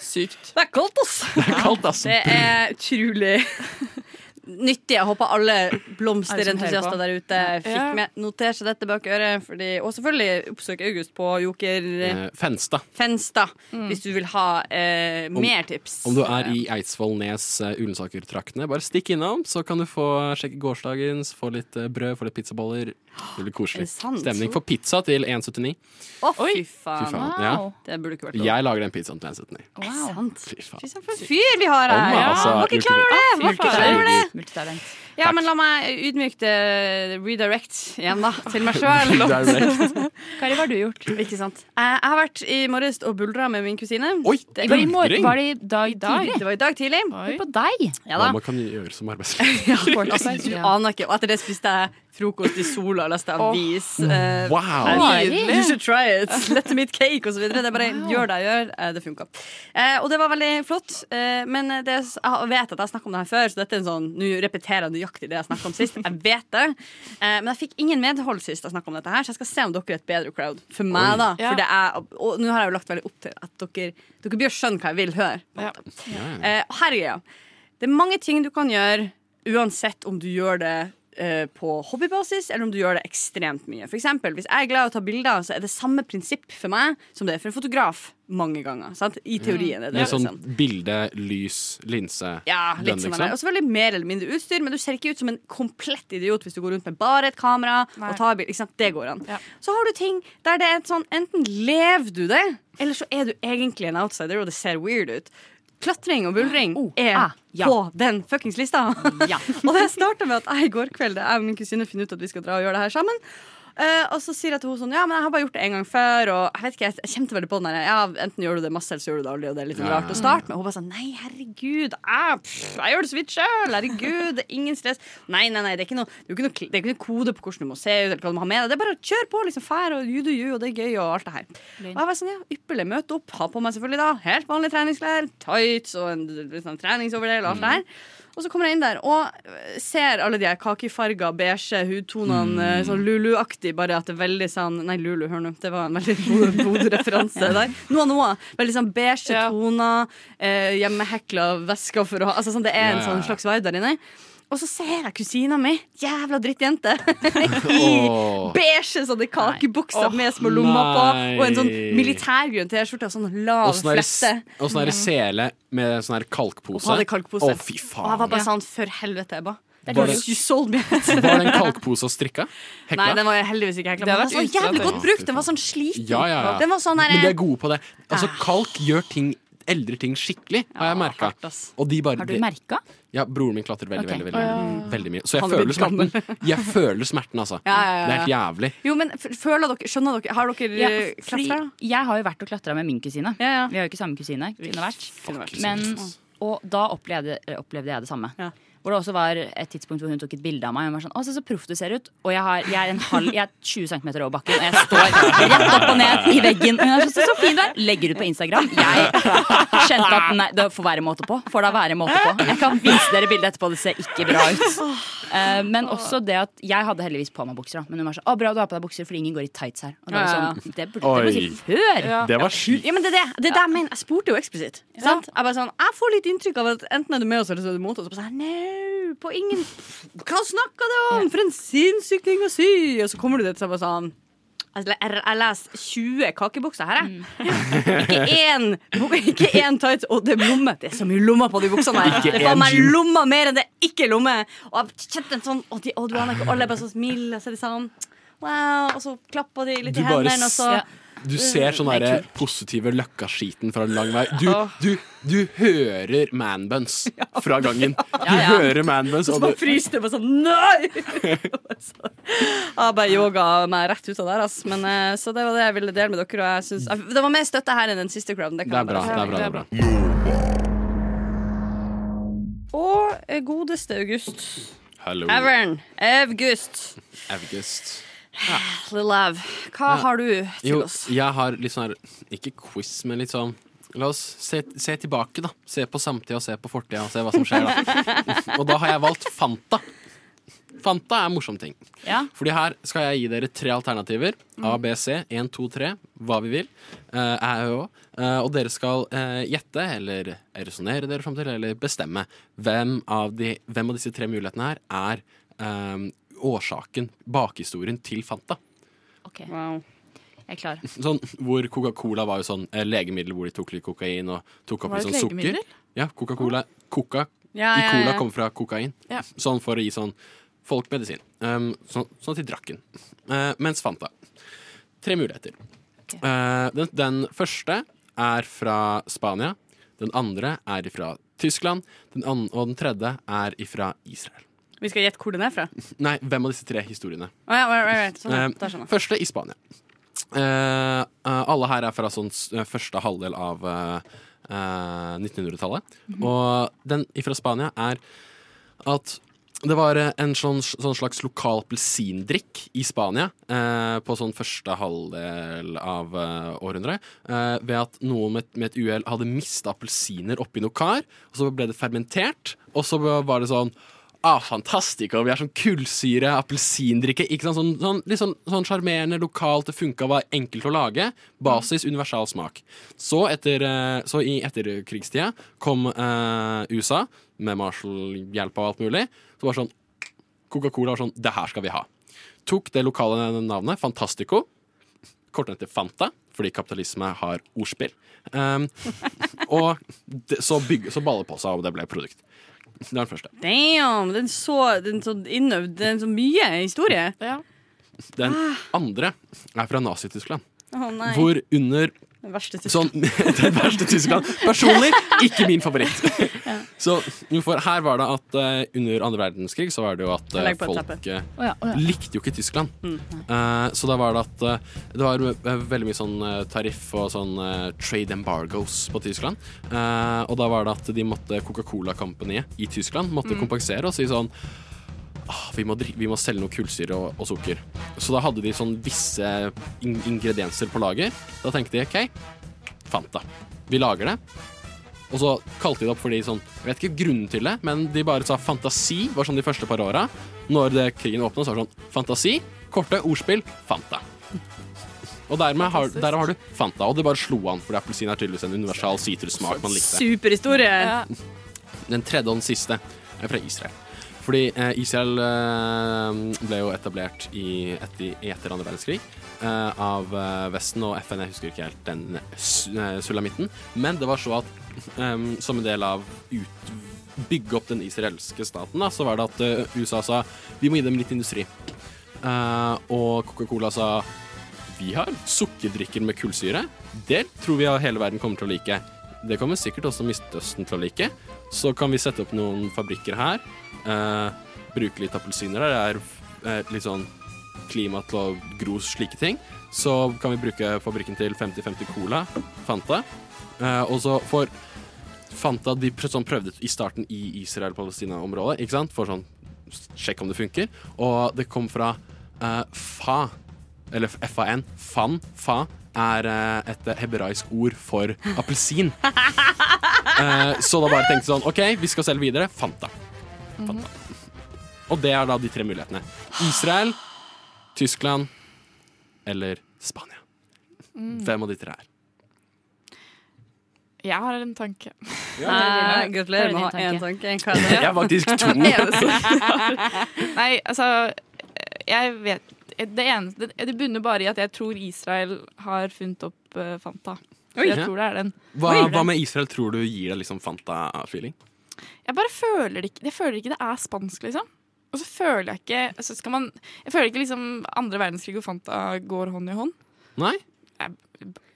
S7: Sykt.
S5: Det er kaldt, ass.
S1: Det er kaldt, ass.
S5: Det er utrolig nyttig. Jeg håper alle blomsterentusiaster der ute fikk
S7: Ja.
S5: med noter seg dette bak øret. Fordi, og selvfølgelig oppsøk August på Joker
S1: Eh, Fenstad.
S5: Fenstad hvis du vil ha eh, mer tips.
S1: Om du er i Eidsvollnes eh, Ullensaker-traktene, bare stikk innom, så kan du få sjekke gårsdagens, få litt eh, brød, få litt pizzaboller. Det blir
S5: Er
S1: koselig.
S5: det sant? Ah,
S1: Stemning for pizza til 1,79.
S5: Å,
S1: Fy
S5: fy faen.
S1: faen. Ja.
S6: Wow.
S5: Det burde ikke vært lov.
S1: Jeg lager den pizzaen til 1,79.
S5: Er det sant?
S1: Fy faen.
S5: Fy søren, for en fyr vi har her!
S1: Om,
S5: Ja,
S1: altså,
S5: var ikke klar over det! Var ikke klar over det.
S6: Multitalent.
S5: Ja, men la meg ydmykt eh, redirect igjen, da, til meg sjøl.
S1: Direct.
S6: Kari, hva har du gjort?
S5: Ikke sant. Eh, Jeg jeg har vært i morges og buldra med min kusine.
S1: Oi,
S5: Det-
S6: Var det i morgen?
S1: Buldring?
S6: Var det i dag tidlig?
S5: Det var i dag tidlig.
S6: Hør på deg!
S5: Ja
S1: Hva
S5: da.
S1: man kan gjøre som arbeidsleder.
S5: Ja, altså, du
S6: Ja.
S5: aner ikke. Og etter det spiste jeg frokost i sola og leste avis. Eh,
S1: Wow!
S6: Kari!
S5: You should try it. Let them eat cake osv. Det er bare gjør det jeg gjør. Eh, Det funka. Eh, og det var veldig flott. Eh, men det, jeg vet at jeg snakka om det her før, så dette er en sånn, nå repeterer jeg nøyaktig det jeg snakka om sist. Jeg vet det. Eh, men jeg fikk ingen medhold sist jeg snakka om dette her, så jeg skal se om dere er et bedre crowd for meg. da
S7: Ja.
S5: For det er, Og nå har jeg jo lagt veldig opp til at dere, dere bør skjønne hva jeg vil høre. på en
S7: Ja.
S5: måte. Eh, og her er greia. Det er mange ting du kan gjøre uansett om du gjør det eh, på hobbybasis eller om du gjør det ekstremt mye. For eksempel, hvis jeg er glad i å ta bilder, så er det samme prinsipp for meg som det er for en fotograf mange ganger. Sant? I teorien er det
S1: Med sånn
S5: liksom.
S1: bilde, lys, linse.
S5: Ja, litt
S1: den,
S5: som
S1: liksom.
S5: han er. Og selvfølgelig mer eller mindre utstyr, men du ser ikke ut som en komplett idiot hvis du går rundt med bare et kamera og tar bilde. Ikke sant? Det går an.
S7: Ja.
S5: Så har du ting der det er et sånn Enten lever du det, eller så er du egentlig en outsider, og det ser weird ut. Klatring og buldring er
S6: ah, ja.
S5: på den fuckings lista. og det starta med at jeg i går kveld, jeg og min kusine finner ut at vi skal dra og gjøre det her sammen. Eh, og så sier jeg til hun sånn Ja, men jeg har bare gjort det en gang før. Og jeg vet ikke, jeg kommer til veldig på den der ja, enten gjør du det masse, eller så gjør du det aldri. Og det er litt
S1: Ja.
S5: rart å starte med. Og hun bare sånn Nei, herregud. ah, pff, jeg gjør det så vidt sjøl. Herregud, det er ingen stress. Nei, nei, nei. Det er ikke noe, det er ikke noe, kl- det er ikke noe kode på hvordan du må se ut, eller hva du må ha med deg. Det er bare å kjøre på, liksom. Fær og you do you, og det er gøy, og alt det her. Og jeg var sånn, ja, ypperlig. Møte opp. Ha på meg selvfølgelig da helt vanlige treningsklær, tights og en litt sånn treningsoverdel og alt det her. Og så kommer jeg inn der og øh, ser alle de her kakefarga, beige hudtonene,
S1: Mm.
S5: øh, sånn Lulu-aktig, bare at det er veldig sånn Nei, Lulu, hør nå, det var en veldig god- god referanse der. Noe av noe. Veldig sånn beige
S7: Ja.
S5: toner, eh, hjemmehekla vesker for å ha Altså sånn, det er en
S1: Ja.
S5: sånn slags vibe der inne. Og så ser jeg kusina mi, jævla drittjente,
S1: Åh.
S5: beige sånne kakebukser med små
S1: Åh,
S5: lommer på, og en sånn
S1: nei.
S5: militærgrønn T-skjorte og sånn lav
S1: Og sånn der-
S5: flette.
S1: og sånn der sele med sånn her kalkpose.
S5: Og hadde kalkpose.
S1: Å, fy
S5: Og jeg var
S1: faen.
S5: bare sånn, for helvete, jeg bare.
S1: Var det-
S5: You sold me.
S1: Var den kalkposa strikka? Hekla?
S5: Nei, den var jeg heldigvis ikke hekla.
S7: Det
S5: Men
S7: har
S5: den var
S7: vært
S5: så jævlig
S7: utsatt,
S5: godt brukt. Den var sånn sliten.
S1: Ja, ja, ja.
S5: Den var sånn Ah. der,
S1: Men de er gode på det. Altså, kalk gjør ting eldrer ting skikkelig, har jeg merka.
S5: hardt, ass.
S1: Og de bare
S6: Har du merka?
S1: Ja, broren min klatrer veldig,
S6: Ok.
S1: veldig, veldig, veldig mye. Så jeg
S5: Ah. Han er
S1: føler
S5: blitt gammel.
S1: smerten. Jeg føler smerten, altså.
S5: Ja, ja, ja, ja.
S1: Det er helt jævlig.
S5: Jo, men f- føler dere, skjønner dere Har dere eh,
S6: Ja,
S5: ja,
S6: fordi
S5: klatra?
S6: jeg har jo vært og klatra med min kusine.
S5: Ja, ja.
S6: Vi har jo ikke samme kusine. Kunne vært.
S1: Fuck,
S6: Men,
S1: ass.
S6: og da opplevde, eh, opplevde jeg det samme.
S5: Ja.
S6: Hvor det også var et tidspunkt hvor hun tok et bilde av meg. Og hun var sånn, å se så proff du ser ut Og jeg, har, jeg, er en halv, jeg er 20 cm over bakken, og jeg står rett opp og ned i veggen. Og hun er sånn, se så fin du er! Legger ut på Instagram. Jeg kjente at nei, det får være måte på. Får da være måte på. Jeg kan vise dere bildet etterpå, det ser ikke bra ut. Eh, men også det at jeg hadde heldigvis på meg bukser. da. Men hun var sånn, å bra du har på deg bukser, fordi ingen går i tights her. Og det, var
S5: Ja, ja.
S6: sånn, det burde du si før!
S1: Det var sjukt.
S5: Ja, men det er det, det, er det jeg mener. Jeg spurte jo eksplisitt. Sant? Jeg bare sånn, jeg får litt inntrykk av at enten er du med oss eller så er du mot oss. Og så bare sånn, nei, på ingen Hva snakker du om? For en sinnssyk ting å si! Og så kommer du dit og så bare sånn jeg le- jeg jeg leser 20 kakebukser her, jeg. Ikke én, bu- ikke én tights, og det er lomme. Det er så mye lommer på de buksene her. Det er faen meg lommer mer enn det er ikke lommer. Og jeg kjente en sånn Og de, og du aner ikke, alle er bare så smil, og så er de sånn Wow. Og så klapper de litt
S1: Du
S5: i
S1: bare
S5: hendene, og så
S6: s-
S1: Du ser sånn derre positive løkkaskiten fra lang vei. Du, du, du hører manbuns fra gangen. Du hører manbuns,
S5: Så
S1: og
S5: bare
S1: du
S5: fryste jeg bare sånn Nei! Jeg bare yoga meg rett ut av der, ass. Men, eh, så det var det jeg ville dele med dere. Og jeg synes, jeg- det var mer støtte her enn den siste crowden. Det, kan
S1: Det er bra.
S5: jeg bare
S1: det er bra, det er bra.
S5: si. Og eh, godeste august.
S1: Hallo,
S5: Evern. August.
S1: August.
S5: Little Av. Hva har du til
S1: Jo,
S5: oss?
S1: jeg har litt sånn her Ikke quiz, men litt sånn La oss se, se tilbake, da. Se på samtida og se på fortida og se hva som skjer, da. og da har jeg valgt Fanta. Fanta er en morsom ting.
S6: Ja.
S1: Fordi her skal jeg gi dere tre alternativer.
S5: Mm.
S1: A, B, C. 1, 2, 3. Hva vi vil. Eh, jeg òg. Eh, og dere skal eh, gjette, eller resonnere dere fram til, eller bestemme hvem av, de, hvem av disse tre mulighetene her er eh, årsaken, bakhistorien, til Fanta.
S6: Ok,
S5: Wow.
S6: jeg er klar.
S1: Sånn, hvor Coca-Cola var jo sånn eh, legemiddel hvor de tok litt kokain og tok opp
S7: Var
S1: litt
S7: det
S1: sånn
S7: et
S1: sukker.
S7: legemiddel?
S1: Ja, Coca-Cola Coca
S5: Ja,
S1: i
S5: ja,
S1: cola
S5: ja.
S1: kom fra kokain.
S7: Ja.
S1: Sånn for å gi sånn folk medisin. Um, sånn, sånn at de drakk den. Eh, mens Fanta. Tre muligheter. Eh, den, den første er fra Spania. Den andre er fra Tyskland. Den an og den tredje er fra Israel.
S5: Vi skal gjette hvor den er fra.
S1: Nei, hvem av disse tre historiene?
S5: Å ja, right, right, right. Sånn, ja.
S1: Eh,
S5: Da skjønner jeg.
S1: første i Spania. Eh, eh, alle her er fra sånn s- eh, første halvdel av eh, eh, 1900-tallet. Og den fra Spania er at det var eh, en sånn, sånn slags lokal appelsindrikk i Spania eh, på sånn første halvdel av eh, århundret. Eh, ved at noen med, et- med et uhell hadde mista appelsiner oppi noe kar. Og så ble det fermentert, og så var det sånn Ah, fantastico! Vi er sånn kullsyre, appelsindrikke ikke sant? Sånn, sånn, Litt sånn sånn sjarmerende, lokalt, det funka, var enkelt å lage. Basis, universal smak. Så, etter, eh, så i etterkrigstida kom eh, USA, med Marshall-hjelp og alt mulig. Så var det sånn Coca-Cola var sånn Det her skal vi ha. Tok det lokale navnet, Fantastico. Kortnavnet til Fanta, fordi kapitalisme har ordspill. Um, og det, så, bygge, så baller det på seg, og det ble et produkt. Det er den første.
S5: Damn! Den så, den så innøvd. Den så mye historie.
S7: Ja.
S1: Den andre er fra Nazi-Tyskland.
S5: Å nei.
S1: Hvor under
S5: Den verste tysk-
S1: sånn, Den verste Tyskland. Personlig ikke min favoritt. Så for her var det at eh, under andre verdenskrig så var det jo at eh,
S5: Legg på et
S1: folk eh,
S6: Å ja, Mm, å ja.
S1: likte jo ikke Tyskland. Eh, så da var det at eh, det var eh, veldig mye sånn eh, tariff og sånn eh, trade embargoes på Tyskland. Eh, og da var det at de måtte Coca-Cola Companyet i Tyskland måtte
S6: Mm.
S1: kompensere og si sånn ah, vi må, dri- vi må selge noe kullsyre og, og sukker. Så da hadde de sånn visse in ingredienser på lager. Da tenkte de OK, Fanta. Vi lager det. Og så kalte de det opp fordi sånn, jeg vet ikke grunnen til det, men de bare sa fantasi, var sånn de første par åra. Når det, krigen åpna, så var det sånn fantasi, korte ordspill, Fanta. Og dermed har, derav har du Fanta, og det bare slo an, fordi appelsin er tydeligvis en universal sitrussmak man likte.
S5: Superhistorie.
S7: Ja.
S1: Den tredje og den siste er fra Israel. Fordi eh, Israel eh, ble jo etablert i, etter, etter andre verdenskrig eh, av eh, Vesten og FN. Jeg husker ikke helt den su- eh, sulamitten. Men det var så at eh, som en del av ut, bygge opp den israelske staten, da, så var det at eh, USA sa vi må gi dem litt industri. Eh, og Coca-Cola sa vi har sukkerdrikker med kullsyre. Det tror vi hele verden kommer til å like. Det kommer sikkert også Midtøsten til å like. Så kan vi sette opp noen fabrikker her. eh, bruke litt appelsiner der. Det er eh, litt sånn klima til å gro slike ting. Så kan vi bruke fabrikken til 50-50 Cola, Fanta. Eh, og så for Fanta de prø- sånn prøvde i starten i Israel-Palestina-området, ikke sant? For sånn s- sjekk om det funker. Og det kom fra eh, fa, eller FAN. Fan, fa, er eh, et hebraisk ord for appelsin. Eh, så da bare tenkte jeg sånn OK, vi skal selge videre. Fanta. Fanta. Og det er da de tre mulighetene. Israel, Tyskland eller Spania. Hvem av de tre er?
S7: Jeg har en tanke.
S5: Eh, gratulerer med å
S6: Det
S5: ha
S6: er
S5: én
S6: din
S5: tanke. Hva er det?
S1: Jeg er faktisk to.
S7: Nei, altså Jeg vet Det eneste Det bunner bare i at jeg tror Israel har funnet opp eh, Fanta. Så jeg
S1: Ja.
S7: tror det er den.
S1: Hva, hva med Israel tror du gir deg liksom Fanta-feeling?
S7: Jeg bare føler det ikke Jeg føler ikke det er spansk, liksom. Og så føler jeg ikke altså skal man, Jeg føler ikke liksom andre verdenskrig og Fanta går hånd i hånd.
S1: Nei?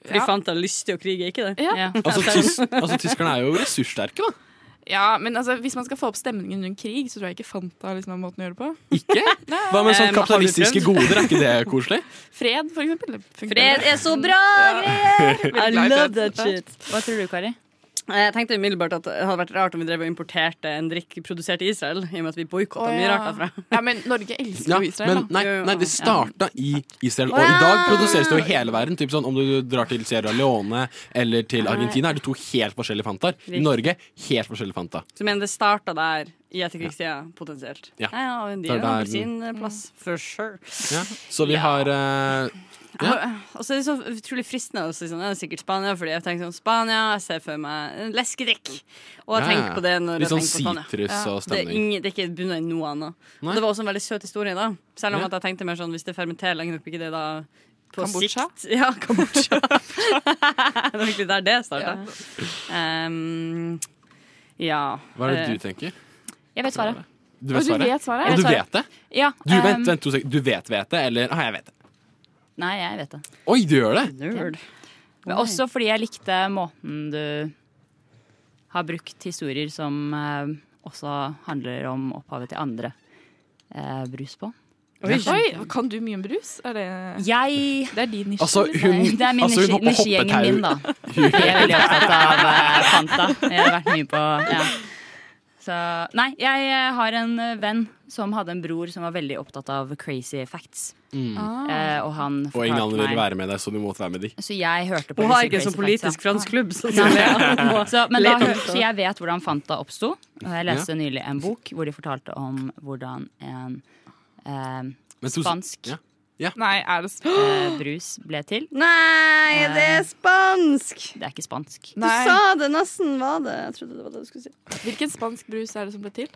S5: Fordi
S7: Ja.
S5: Fanta har lyst til å krige, ikke det?
S7: Ja.
S6: Ja.
S1: Altså, tys altså tyskerne er jo ressurssterke, da.
S7: Ja, men altså, hvis man skal få opp stemningen rundt krig, så tror jeg ikke Fanta liksom, er måten å gjøre det på.
S1: Ikke? Hva med sånn
S5: Eh, men har du
S1: kapitalistiske goder? Er ikke det koselig?
S7: Fred, for eksempel. det funker
S5: Fred
S7: bedre.
S5: er så bra, greier! I love that shit.
S6: Hva tror du, Kari?
S5: Jeg tenkte umiddelbart at det hadde vært rart om vi drev og importerte en drikk produsert i Israel, i og med at vi boikotta mye rart derfra.
S7: ja, men Norge elsker
S1: Ja,
S7: jo Israel,
S1: men
S7: da.
S1: nei,
S5: Jo, jo,
S1: nei, det starta i Israel, og i dag produseres det jo i hele verden. Typ sånn, om du drar til Sierra Leone eller til Argentina, er det to helt forskjellige Fantaer. I Norge helt forskjellige Fanta.
S5: Så jeg mener det starta der i etterkrigstida, potensielt.
S1: Ja.
S5: Ja, ja, og
S1: Det
S5: de
S1: er
S5: er jo
S1: der-
S5: sin eh, plass, for sure.
S1: Ja. Så vi har eh,
S5: Og så er det så utrolig fristende å si sånn, ja, det er sikkert Spania, fordi jeg tenker sånn Spania, jeg ser for meg en leskedrikk. Og jeg
S1: Ja,
S5: tenker på det når
S1: litt
S5: jeg
S1: sånn
S5: tenker på Spania.
S1: sitrus og
S5: Det er,
S1: stemning.
S5: ingen, det er ikke bunnet i noe annet.
S1: Nei.
S5: Og det var også en veldig søt historie, da. Selv om
S1: Ja.
S5: at jeg tenkte mer sånn hvis det fermenterer lenge nok, blir ikke det da på
S7: Kambodsja?
S5: sikt Ja, Kambodsja. det var egentlig der det starta. Um, ja.
S1: Hva er det
S5: Eh,
S1: du tenker?
S6: Jeg vet svaret.
S1: Du
S7: Og
S1: vet
S7: du
S1: svaret?
S7: vet svaret?
S1: Og du
S6: svaret.
S1: vet det?
S6: Ja,
S1: Du, vent,
S5: Um,
S6: ehm,
S1: vent to sek- Du vet vet det, eller ah, jeg vet det.
S6: Nei, jeg vet det.
S1: Oi, du gjør det!
S5: Nerd.
S6: Men også fordi jeg likte måten du har brukt historier som eh, også handler om opphavet til andre eh, brus på.
S7: Oi, Oi, kan du mye om brus? Er det,
S6: Jeg
S7: det er din nisje? liksom.
S1: Altså,
S7: eller?
S1: hun,
S6: Det er min
S1: altså, hun
S6: nisje-
S1: hopper
S6: nisjegjengen
S1: hoppetau.
S6: min, da. Jeg er veldig opptatt av eh, Fanta. Jeg har vært mye på ja. Så, Nei, jeg eh, har en eh, venn som hadde en bror som var veldig opptatt av crazy facts.
S5: Ah.
S6: Eh, og han
S1: Mm. Og ingen andre
S6: fortalte
S1: vil
S6: meg
S1: være med deg, så du måtte være med de.
S6: Så jeg hørte på
S5: Hun har
S6: disse
S5: ikke en sånn
S6: crazy
S5: politisk
S6: facts, ja.
S5: fransk klubb. Så
S6: Så, men da,
S5: Litt om
S6: hør-
S5: det.
S6: så jeg vet hvordan Fanta oppsto. Og jeg leste nylig en bok hvor de fortalte om hvordan en eh,
S1: Men to-
S6: spansk
S1: ja.
S7: Nei, er det s-
S6: eh, brus ble til.
S5: Nei, det er spansk!
S6: Det er ikke spansk.
S5: Du
S7: Nei.
S5: sa det, nesten var det. Jeg trodde det var det du skulle si.
S7: Hvilken spansk brus er det som ble til?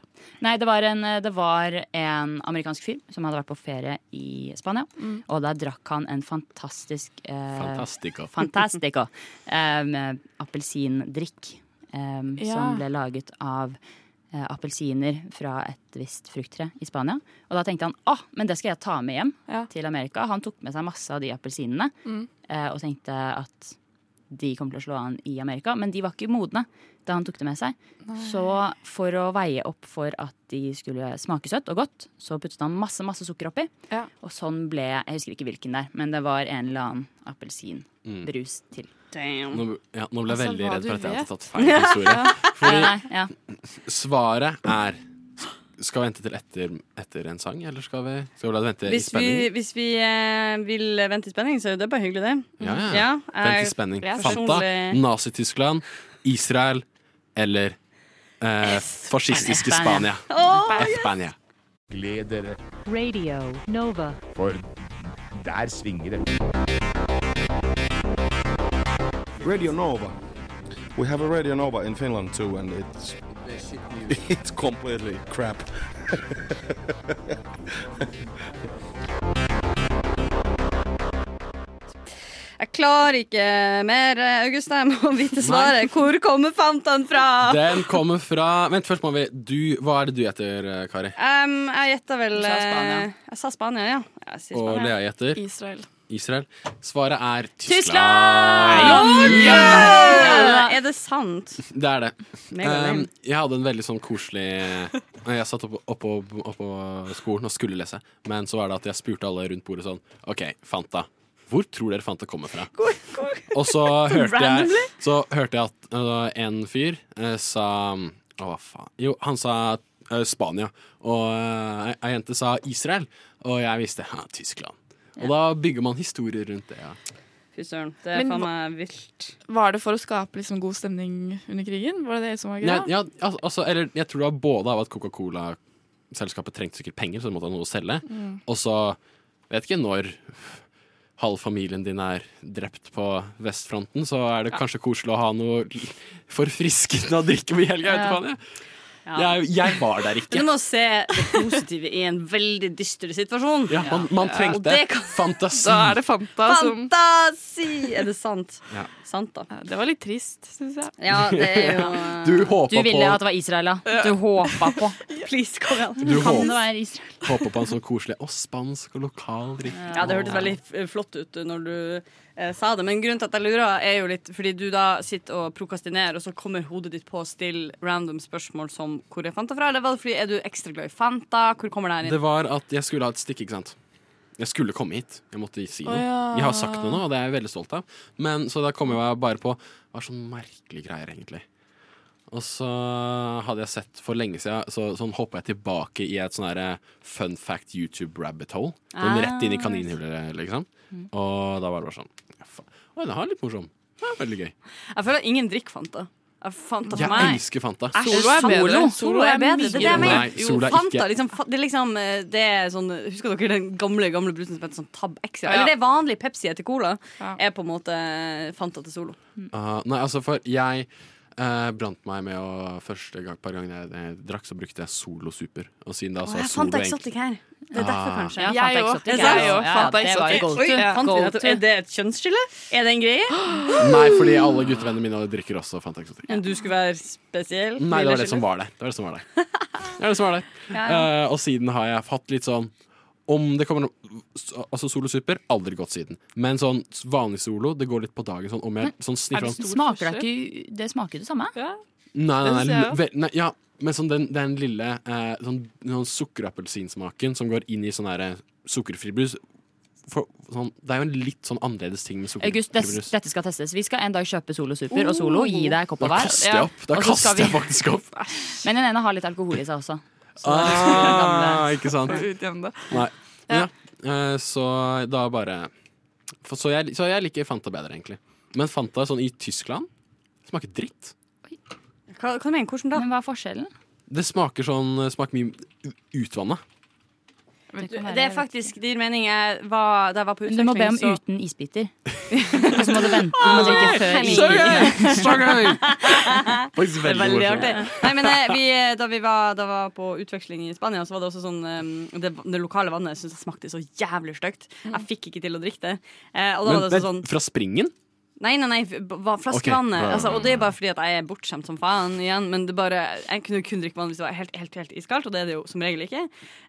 S6: Nei, det var, en, det var en amerikansk fyr som hadde vært på ferie i Spania. Og der drakk han en fantastisk eh,
S1: Fantastica.
S6: Fantastico. Um, appelsindrikk em,
S7: Ja.
S6: som ble laget av eh, appelsiner fra et visst frukttre i Spania. Og da tenkte han ah, men det skal jeg ta med hjem
S7: Ja. Mm.
S6: til Amerika. Han tok med seg masse av de appelsinene eh, og tenkte at de kom til å slå an i Amerika, men de var ikke modne da han tok det med seg. Så for å veie opp for at de skulle smake søtt og godt, så puttet han masse masse sukker oppi.
S7: Ja.
S6: Og sånn ble Jeg husker ikke hvilken der, men det var en eller annen appelsinbrus til.
S1: Nå, ja, nå ble jeg
S7: Altså,
S1: veldig
S7: hva
S1: redd for
S7: du
S1: at jeg hadde
S7: vet.
S1: tatt feil historie. Fordi
S6: Nei, ja.
S1: Svaret er Skal vi vente til etter, etter en sang, eller skal vi, skal vi la det vente i
S5: Hvis vi,
S1: spenning?
S5: hvis vi eh, vil vente i spenning, så er jo det bare hyggelig, det.
S1: Ja, ja.
S5: Ja,
S1: Vent
S5: jeg-
S1: i spenning.
S5: jeg er
S1: Fanta,
S5: personlig-
S1: Nazi-Tyskland, Israel eller eh, fascistiske
S6: Spania.
S1: Spania. Spania.
S9: Gled dere,
S8: Radio Nova.
S9: for der svinger det.
S10: Radio Nova. We have a Radio Nova in Finland too, and it's it's completely crap.
S5: Jeg klarer ikke mer, eh, August. Jeg må vite svaret. Hvor kommer Fantaen fra?
S1: Den kommer fra Vent, først må vi du, Hva er det du heter, eh, Kari?
S5: Em, jeg gjetta vel
S6: Du sa Spania.
S5: eh, Jeg sa Spania, ja. Jeg sier
S1: Og
S5: Spania.
S1: Lea heter
S7: Israel.
S1: Israel. Svaret er
S6: Tyskland!
S1: Tyskland!
S5: Ja, Er det sant?
S1: Det er det.
S5: Megalame.
S1: Um, jeg hadde en veldig sånn koselig Jeg satt oppå opp, opp, skolen og skulle lese, men så var det at jeg spurte alle rundt bordet sånn OK, Fanta. Hvor tror dere Fanta kommer fra? Og så hørte jeg, så hørte jeg at øh, en fyr øh, sa Å, hva faen? Jo, han sa øh, Spania. Og øh, ei ei jente sa Israel. Og jeg visste ja, Tyskland. Og da bygger man historier rundt det. Ja.
S5: Fy søren. Det er
S7: Men
S5: faen
S7: hva-
S5: meg vilt.
S7: Var det for å skape liksom, god stemning under krigen? Var det det som var
S1: Ja,
S7: greia?
S1: ja, al- altså, eller jeg tror det var både av at Coca-Cola-selskapet trengte sikkert penger, så de måtte ha noe å selge. Og så vet ikke når halv familien din er drept på vestfronten, så er det kanskje koselig å ha noe l- forfriskende å drikke på helga. vet du faen, jeg.
S5: Ja.
S1: Jeg, jeg var der
S5: Men
S1: ikke.
S5: du må se det positive i en veldig dyster situasjon.
S1: Ja, man, man
S5: Og
S1: trengte
S5: det kan-
S1: fantasi.
S7: Da er det Fanta som
S5: Fantasi! Er det sant?
S1: Ja.
S5: Sant, da.
S7: ja, Det var litt trist, syns jeg.
S5: Ja, det er jo eh,
S1: Du
S6: Du
S1: håpa på,
S6: ville at det var Israel, ja. Du håpa på.
S5: Please, kom igjen.
S1: du
S6: Kan
S1: håpet-
S6: det være Israel?
S1: håpet på en sånn koselig og spansk og lokal drikke.
S5: Ja, det hørtes veldig f- flott ut når du eh, sa det. Men grunnen til at jeg lurer, er jo litt fordi du da sitter og prokastinerer, og så kommer hodet ditt på å stille random spørsmål som hvor er Fanta fra? Eller var det fordi er du ekstra glad i Fanta? Hvor kommer det her
S1: Det
S5: inn?
S1: var at jeg skulle ha et stikk, ikke sant? Jeg skulle komme hit. Jeg måtte si noe.
S7: Å, ja.
S1: Jeg har sagt noe nå, og det er jeg veldig stolt av. Men Så da kom jeg bare på Hva er sånne merkelige greier, egentlig? Og så hadde jeg sett for lenge siden, så sånn hoppa jeg tilbake i et sånn derre fun fact YouTube rabbit hole. Sånn
S11: Ah.
S1: rett inn i kaninhullet, liksom.
S5: Mm.
S1: Og da var det bare sånn ja, faen. Oi, den var litt morsom. Det var veldig gøy.
S5: Jeg føler at ingen drikker Fanta. Jeg- Fanta for
S1: Jeg
S5: meg.
S1: elsker Fanta.
S5: Æsj,
S1: Solo er bedre.
S5: Solo,
S1: Solo
S5: er
S1: er mye
S5: bedre. Det er det jeg mener.
S1: Nei, Solo er
S5: Fanta,
S1: ikke-
S5: liksom, fa- det er liksom eh, Det er sånn Husker dere den gamle gamle brusen som heter sånn Tab X? Ja.
S1: Ja.
S5: Eller det er vanlig Pepsi etter Cola. Er på en måte Fanta til Solo.
S1: Ah, nei, altså, for jeg eh, brant meg med å Første gang, par ganger jeg, eh, drakk, så brukte jeg Solo Super. Og siden da
S5: Å,
S1: så
S5: jeg
S1: er
S5: har
S1: Solo
S5: Fanta
S1: egentlig
S5: Exotic her. Det er derfor,
S1: Ah.
S5: kanskje.
S1: Ja,
S7: Jeg Fanta Exotic også. er Jeg jo- også. Fanta
S5: Ja, det var
S7: Exotic.
S5: jo go-to. Fant
S7: Oi,
S5: vi
S7: go-to.
S5: nettopp- Er det et kjønnsskille? Er det en greie?
S1: Nei, fordi alle guttevennene mine drikker også Fanta Exotic.
S5: Men du skulle være spesiell?
S1: Nei, det var det som var det. Det var det som var det. Det var det som var det.
S5: Ja, ja.
S1: Eh, og siden har jeg hatt litt sånn om det kommer noe Altså Solo Super, aldri gått siden. Men sånn vanlig solo, det går litt på dagen. Sånn,
S5: Mm.
S1: om jeg sånn
S6: Er
S1: sniffer
S6: det,
S1: sånn
S6: smaker det ikke Det smaker jo det samme.
S1: Nei, nei,
S6: Det
S1: nei,
S6: synes jeg
S1: lu- vel- nei ja, men sånn den, den lille eh, sånn, sånn sukkerappelsinsmaken som går inn i sånn her, eh, sukkerfri brus for, sånn, Det er jo en litt sånn annerledes ting med sukkerfri
S6: August, des,
S1: brus.
S6: dette skal testes. Vi skal en dag kjøpe Solo Super og Solo. Gi deg en kopp av
S1: Da
S6: hver.
S1: kaster jeg opp. Da
S6: Og så skal
S1: kaster jeg faktisk opp.
S6: Men den ene har litt alkohol i seg også. Så da-
S1: Ah,
S6: gamle-
S1: ikke sant?
S6: For å utjevne det.
S1: Nei. Men ja. eh, så da bare for, så, jeg, så jeg liker Fanta bedre, egentlig. Men Fanta sånn i Tyskland smaker dritt.
S5: Hva, hva mener du? Hvordan da?
S6: Men hva er forskjellen?
S1: Det smaker sånn Smaker mye utvanna.
S5: Du, det er faktisk Det gir mening. Jeg var, da jeg var på
S6: Men du må be om
S5: utveksling, så
S6: uten isbiter. Og så må du vente. Du må drikke før
S5: Henning.
S6: isbiter.
S1: Faktisk
S5: Det er veldig
S1: morsomt.
S5: artig. Nei, men eh, vi, eh, da vi var, da var på utveksling i Spania, så var det også sånn eh, Det, det lokale vannet syntes jeg smakte så jævlig stygt. Jeg fikk ikke til å drikke det. Eh, og da
S1: Men
S5: var
S1: det
S5: det også sånn
S1: er fra springen?
S5: Nei, nei, nei, f- ba-
S1: Ok, ja,
S5: flaskevannet.
S1: ja,
S5: Altså,
S1: ja.
S5: og det er bare fordi at jeg er bortskjemt som faen igjen. Men det bare, jeg kunne jo kun drikke vann hvis det var helt, helt, helt iskaldt, og det er det jo som regel ikke.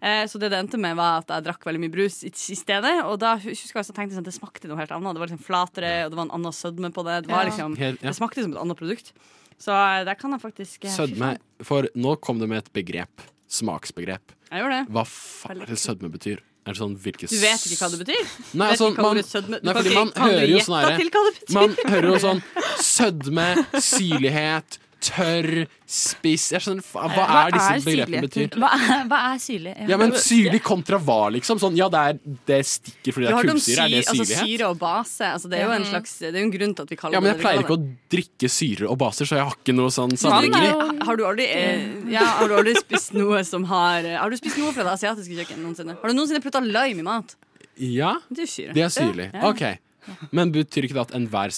S5: Eh, så det det endte med, var at jeg drakk veldig mye brus i, i stedet. Og da hus- husker jeg også tenkte jeg sånn, det smakte noe helt annet. Det var liksom flatere, og det var en annen sødme på det. Det, var
S1: Ja.
S5: liksom,
S1: Helt- ja.
S5: det smakte som et annet produkt. Så eh, der kan jeg faktisk eh,
S1: Sødme. For nå kom det med et begrep. Smaksbegrep.
S5: Jeg gjorde det.
S1: Hva faen er det sødme betyr? Er det sånn hvilke
S5: Du vet ikke hva det betyr? Du
S1: Nei,
S5: vet
S1: altså,
S5: ikke hva
S1: man,
S5: ordet sødme- du
S1: nei,
S5: kan
S1: fordi
S5: ikke-
S1: man
S5: kan du
S1: hører jo
S5: gjette
S1: sånn herre
S5: til hva det betyr?
S1: Man hører jo sånn sødme, syrlighet, tørr, spiss Jeg skjønner fa- Hva er disse begrepene betyr?
S6: Hva er, hva er syrlig?
S1: Ja, men syrlig kontra hva, liksom? Sånn, ja, det, er, det stikker fordi
S5: Vi
S1: det er
S5: har hørt om
S1: kullsyre. Er det
S5: syre- altså,
S1: syrlighet?
S5: syre og base. Altså, det er jo en
S6: Ja.
S5: slags Det er jo en grunn til at vi kaller
S1: Ja, men
S5: det
S1: jeg
S5: det vi
S1: pleier ikke
S5: kaller
S1: å drikke syrer og baser, så jeg har ikke noe sånn sammenligning.
S5: Har, har, du aldri, eh, ja, har du aldri spist noe som har eh, Har du spist noe fra det asiatiske kjøkkenet noensinne? Har du noensinne putta lime i mat?
S1: Ja,
S5: Det er jo syre.
S1: det er syrlig.
S5: Ja.
S1: OK. Men betyr ikke det at enhver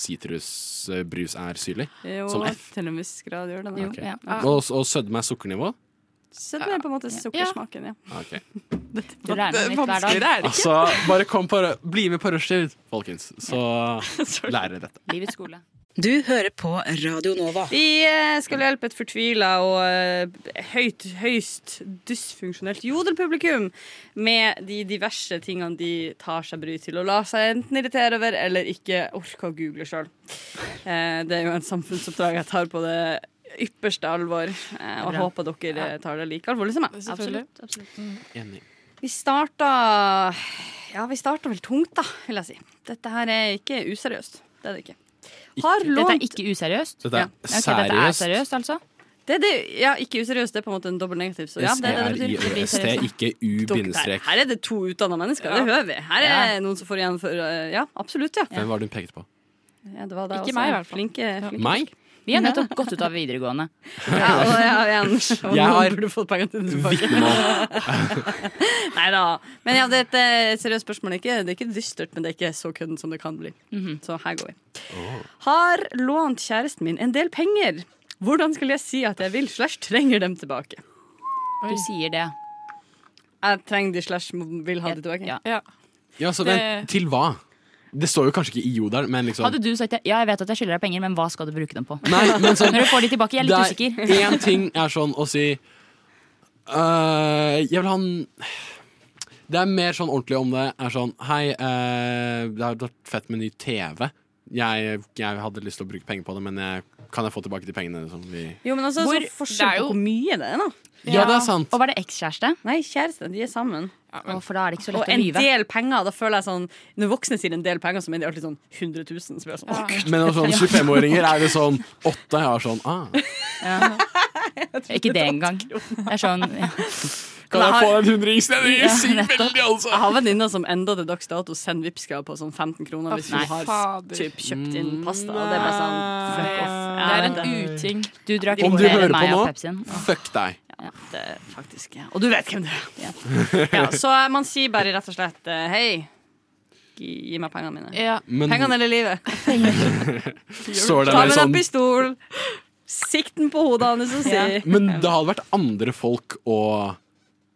S1: sitrusbrus er syrlig?
S5: Jo,
S1: Som F?
S5: til en viss grad gjør det det.
S1: Ok. Og, og sødme er sukkernivå?
S5: Sødme er på en måte sukkersmaken, ja.
S1: Ok.
S6: Du lærer noe nytt hver dag.
S1: Altså, bare kom på, bli med på rushtid, folkens, så lærer dere dette.
S6: Livets skole.
S12: Du hører på Radio Nova.
S5: Vi eh, skal hjelpe et fortvila og eh, høyt, høyst dysfunksjonelt jodelpublikum med de diverse tingene de tar seg bryet til å la seg enten irritere over eller ikke orke å google sjøl. Eh, det er jo en samfunnsoppdrag jeg tar på det ypperste alvor, eh, og
S6: Bra.
S5: håper dere eh, tar det like alvorlig som meg.
S6: Selvfølgelig.
S5: Absolutt, absolutt. Vi starta Ja, vi starta vel tungt, da, vil jeg si. Dette her er ikke useriøst. Det er det ikke. Har
S6: Dette
S5: lånt
S6: er ikke useriøst?
S1: Dette er
S6: Ja. Ok, Dette er
S1: seriøst.
S6: seriøst, altså?
S5: det, er det, ja, ikke useriøst. Det er på en måte en dobbel negativ. Så ja, det, er det, det betyr.
S1: S-E-R-I-Ø-S-T, ikke
S5: Her,
S1: U-bindestrek.
S5: her er det to utdanna mennesker. Det hører vi. Her er noen som får igjen for eh, Ja, absolutt. ja,
S1: Hvem var det hun pekte på?
S5: ja det var da
S6: Ikke
S5: også
S6: meg, i
S5: en
S6: hvert fall.
S5: Flinke, flinke.
S1: Meg?
S6: Vi har nettopp gått ut av videregående.
S5: Ja, og jeg har en.
S1: Jeg
S5: Og noen
S1: har
S5: burde fått pengene sine tilbake. Nei da. Men ja, det er et eh, seriøst spørsmål. Ikke, det er ikke dystert, men det er ikke så kødden som det kan bli.
S6: Mhm.
S5: Så her går vi. Har lånt kjæresten min en del penger. Hvordan skal jeg si at jeg vil slash trenger dem tilbake?
S6: Du sier det.
S5: Jeg trenger de slash vil ha de tilbake.
S1: Ja, så
S6: Det-
S1: vent, til hva? Det står jo kanskje ikke i jodelen, men liksom
S6: Hadde du sagt ja, jeg vet at jeg skylder deg penger, men hva skal du bruke dem på?
S1: Nei, men sånn-
S6: Når du får de tilbake, jeg er litt
S1: Det
S6: usikker.
S1: er- Én ting er sånn å si «Øh, Jeg vil ha en eh, Det er mer sånn ordentlig om det er sånn Hei, øh, det har vært fett med ny TV. jeg, jeg hadde lyst til å bruke penger på det, men jeg, kan jeg få tilbake de pengene som vi
S5: Jo, men altså,
S6: Hvor-
S5: så forskjell
S6: det er
S5: på
S6: jo-
S5: hvor mye det er, da.
S1: Ja, det er sant.
S6: Og var det ekskjæreste?
S5: Nei, kjæreste. De er sammen.
S6: Å, for da er det ikke så
S5: Og
S6: lett å
S5: en
S6: lyve.
S5: del penger. Da føler jeg sånn Når voksne sier en del penger, så mener de alltid sånn 100 000. Så blir jeg sånn, «Åh, Gud».
S1: Men hos sånn 25-åringer er det sånn åtte. Jeg har sånn ah,
S6: Ikke det engang. Det er sånn ja.
S1: Kan jeg få en hundrings? Det
S5: Ja,
S1: er sykt
S5: nettopp.
S1: veldig, altså!
S5: Jeg har venninner som enda til dags dato sender Vipps-krav på sånn 15 kroner
S7: Å,
S5: hvis
S7: fy
S5: hun har
S7: fader.
S5: typ, kjøpt inn pasta. Og det er bare sånn fuck off.
S7: Det er en uting.
S6: Du drakk
S1: Om du
S6: mer enn
S1: hører
S6: meg
S1: på
S6: av
S1: nå,
S6: Pepsien.
S1: fuck deg.
S5: Det er faktisk, ja. Og du vet hvem det er. Ja, så eh, man sier bare rett og slett eh, hei. Gi, gi meg pengene mine.
S7: Ja.
S1: Men-
S5: pengene eller livet.
S1: Står det
S5: Ta
S1: med
S5: med deg
S1: sånn
S5: pistol. Sikt den på hodet hans og si
S1: Men det hadde vært andre folk og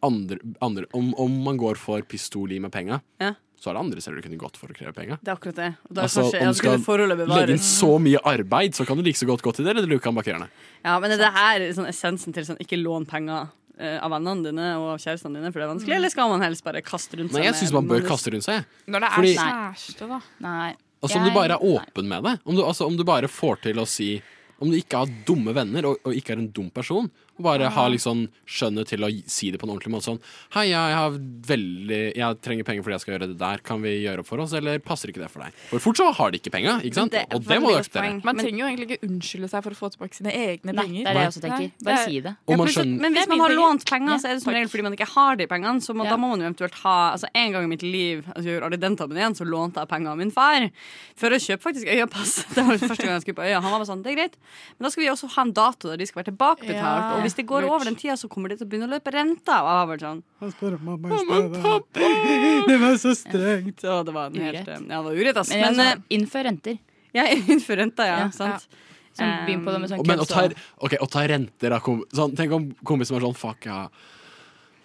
S1: andre, andre om, om man går for pistol i med penga,
S5: Ja.
S1: så er det andre steder du kunne gått for å kreve penga.
S5: Det er akkurat det. Og da
S1: Altså,
S5: kanskje,
S1: om
S5: ja,
S1: du
S5: skulle
S1: skal
S5: forholdet
S1: Legge inn
S5: bevares.
S1: så mye arbeid, så kan du like så godt gå til det, eller du kan bak gjerne.
S5: Ja, men er det her sånn essensen til sånn ikke lån penger eh, av vennene dine og av kjærestene dine, for det er vanskelig, eller skal man helst bare kaste rundt seg?
S1: Nei, Mm. jeg syns man bør kaste rundt seg.
S7: Når det er
S1: Fordi-
S7: kjæreste, da.
S6: Nei.
S1: Altså Om du
S6: Jeg-
S1: bare er åpen med det. Om du, altså, om du bare får til å si Om du ikke har dumme venner og, og ikke er en dum person, og bare har liksom skjønnet til å gi- si det på en ordentlig måte sånn Hei, jeg, har veldig, jeg trenger penger fordi jeg skal gjøre det der. Kan vi gjøre opp for oss, eller passer ikke det for deg? For fort så har de ikke penga, ikke sant?
S5: Det er
S1: og det
S5: veldig
S1: må du
S5: godt
S1: akseptere.
S5: poeng.
S7: Man
S5: Men-
S7: trenger jo egentlig ikke unnskylde seg for å få tilbake sine egne
S6: Nei, det
S7: penger.
S6: er det jeg også tenker.
S7: Nei,
S6: Bare
S7: det er-
S6: si det.
S1: Og
S5: Ja,
S1: man
S5: plutselig-
S1: skjønner
S5: men hvis
S6: Det er
S5: man
S6: mine
S5: har
S6: penger.
S5: lånt penger,
S6: Ja,
S5: så er det som
S6: takk.
S5: regel fordi man ikke har de pengene. Så må,
S6: Ja.
S5: da må man jo eventuelt ha altså En gang i mitt liv altså jeg gjorde aldri den tabben igjen, så lånte jeg penger av min far for å kjøpe faktisk Øyapass. Det var første gang jeg skulle på Øya. Han var bare sånn, det er greit, men da skal vi også ha en dato der de skal være tilbakebetalt.
S7: Ja,
S5: Og hvis det går
S7: lurt.
S5: over den tida, så kommer de til å begynne å løpe renter. Og jeg var bare sånn
S11: Det var så strengt.
S5: Så det var en helt
S6: Urett.
S5: eh, Ja, det var urett, ass.
S6: Men
S5: Men,
S6: altså, innfør renter.
S5: eh, ja, innenfor renta, ja.
S6: Ja.
S5: Sant.
S6: Som
S7: Eh,
S6: begynner på det med sånn
S1: Men å ta,
S6: kødd, så-
S1: ok, å ta renter av kom, sånn, Tenk om kompisen som er sånn Fuck, jeg har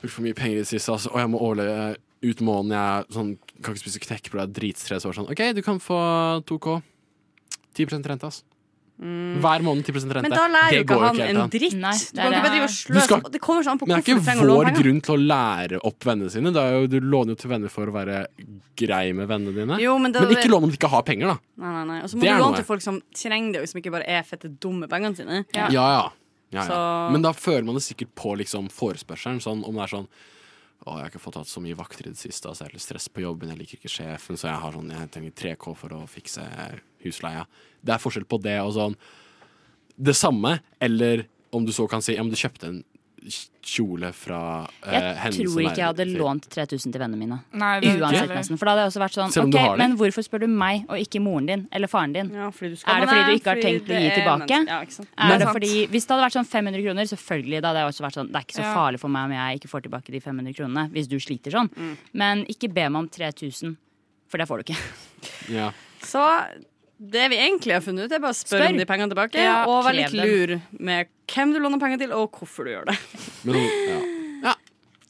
S1: brukt for mye penger i det siste, altså, og jeg må overleve ut måneden. Jeg sånn, kan ikke spise knekkebrød, jeg er dritstress. og Sånn. OK, du kan få 2K. 10 rente, ass. Hver måned 10 rente.
S5: Mm. Men da lærer jo
S1: det
S5: ikke
S1: går jo
S5: han
S1: ikke
S5: en
S1: helt an.
S5: dritt.
S6: Nei, det
S5: du
S6: er
S5: kan ikke
S6: det.
S5: bare drive og
S1: Du
S5: sløse.
S1: skal-
S5: Det kommer ikke an på
S1: Men det er
S5: hvorfor du
S1: ikke
S5: trenger å
S1: vår
S5: låne penger.
S1: grunn til å lære opp vennene sine. Det er jo, du låner jo til venner for å være grei med vennene dine.
S5: Jo, men det-
S1: ikke lån om du ikke har penger, da.
S5: Nei, nei, nei. Og så må
S1: Det
S5: du
S1: er noe.
S5: låne til folk som trenger det, og som ikke bare er fette dumme pengene sine.
S1: Ja, ja. ja, ja.
S5: Så-
S1: Men da føler man det sikkert på liksom, forespørselen. Sånn, om det er sånn å, jeg har ikke fått hatt så mye vakter i det siste, altså, jeg har litt stress på jobben, jeg liker ikke sjefen, så jeg, har sånn, jeg trenger 3K for å fikse husleia. Det er forskjell på det og sånn Det samme, eller om du så kan si Ja, men du kjøpte en kjole fra eh,
S6: Jeg
S1: henne
S6: tror
S1: som
S6: ikke jeg
S1: er-
S6: hadde lånt 3000 til vennene mine.
S7: Nei, det-
S6: Uansett,
S7: eller-
S6: nesten. For da hadde jeg også vært sånn
S1: Selv om du har
S6: OK,
S1: det.
S6: men hvorfor spør du meg og ikke moren din eller faren din?
S5: Ja, fordi du
S6: Er det
S5: men
S6: fordi du
S5: nei,
S6: ikke har
S5: fordi
S6: tenkt å
S5: det
S6: gi
S5: er
S6: tilbake?
S5: menneske- Ja, ikke sant?
S6: Er det
S7: sant.
S6: fordi, hvis det hadde vært sånn 500 kroner, selvfølgelig. Da hadde jeg også vært sånn, det er ikke så
S7: Ja.
S6: farlig for meg om jeg ikke får tilbake de 500 kronene. Hvis du sliter sånn. Men ikke be meg om 3000, for det får du ikke.
S1: ja.
S5: Så det vi egentlig har funnet ut, er bare å spørre
S6: Spør.
S5: om de pengene tilbake,
S7: Ja,
S5: og være litt
S6: krev
S5: lur med hvem du låner penger til, og hvorfor du gjør det.
S1: Men, ja.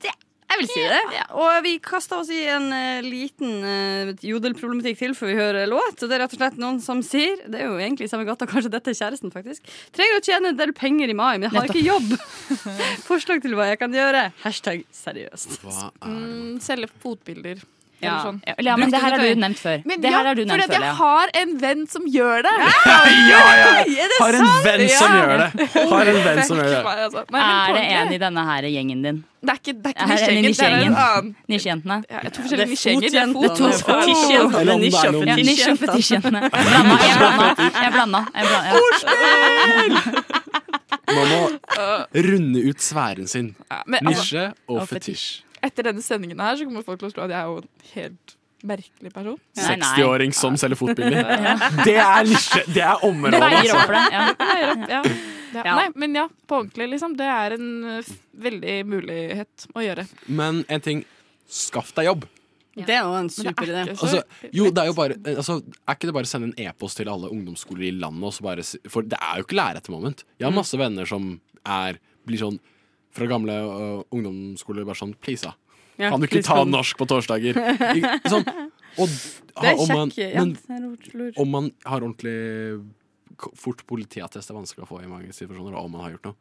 S5: Jeg vil si det. Og vi kaster oss i en eh, liten eh, jodelproblematikk til før vi hører låt. Og det er rett og slett noen som sier, det er jo egentlig i samme gata, kanskje dette er kjæresten faktisk, trenger å tjene en del penger i mai, men jeg har ikke jobb. Forslag til hva jeg kan gjøre. Hashtag seriøst.
S1: Hva er det?
S7: Mm, Selge fotbilder.
S5: Ja.
S7: Eller sånn.
S6: Eller, ja, men
S5: Brukte
S6: det her har
S5: du
S6: du nevnt før.
S7: Men
S6: det
S7: ja,
S6: her har du
S7: fordi
S6: nevnt før,
S7: at jeg
S6: ja.
S7: har en venn som gjør det.
S1: Har en venn som gjør det! Har en venn som gjør det.
S7: Meg, altså. Nei,
S6: Er det
S7: men ordentlig.
S6: en i denne her gjengen din?
S7: Det er ikke, det er ikke
S6: Er det en i
S7: nisjegjengen, det er en
S6: nisjegjengen?
S7: annen.
S6: Nisjejentene?
S7: Ja, jeg tror
S5: Det er
S7: forskjellige nisjegjenger. Det er
S5: fotjentene.
S7: fot-
S5: og
S7: fotjentene.
S5: fetisjjentene.
S1: Eller om det er
S5: Nisje
S1: noen-
S5: og
S1: Ja,
S6: Nisje- og
S5: fetisjjentene.
S6: fetisjjentene. Jeg blanda. Jeg blanda. Jeg blanda. Jeg blanda. Ja.
S1: Man må runde ut sfæren sin.
S7: Ja, Men altså,
S1: Nisje og
S6: Og
S1: fetisj.
S7: etter denne sendingen her så kommer folk til å tro at jeg er jo en helt merkelig person.
S6: Nei, nei.
S1: 60-åring som selger fotbilder. Det er nisje. Det er
S6: Det
S1: området.
S6: veier
S1: Altså.
S6: opp for det. Ja.
S7: Greier opp, ja. Ja.
S5: Ja.
S7: Nei, men ja, på ordentlig, liksom. Det er en eh, f veldig mulighet å gjøre.
S1: Men en ting. Skaff deg jobb.
S5: Det er jo en
S7: Men
S5: super idé.
S7: ikke så-
S1: Altså, jo, det er jo bare altså, Er ikke det bare å sende en e-post til alle ungdomsskoler i landet? Og så bare, si- for det er jo ikke lære etter moment. Jeg har masse venner som er, blir sånn fra gamle øh, ungdomsskoler bare sånn Please, da.
S5: Ja,
S1: Kan du ikke
S5: litt
S1: ta
S5: sånn-
S1: norsk på torsdager? Ikke- Sånn. Og,
S5: Det er
S1: om man-
S5: kjekk. Ja,
S1: men
S5: det er rotlur.
S1: om man har ordentlig k- Fort politiattest er vanskelig å få i mange situasjoner, og om man har gjort noe.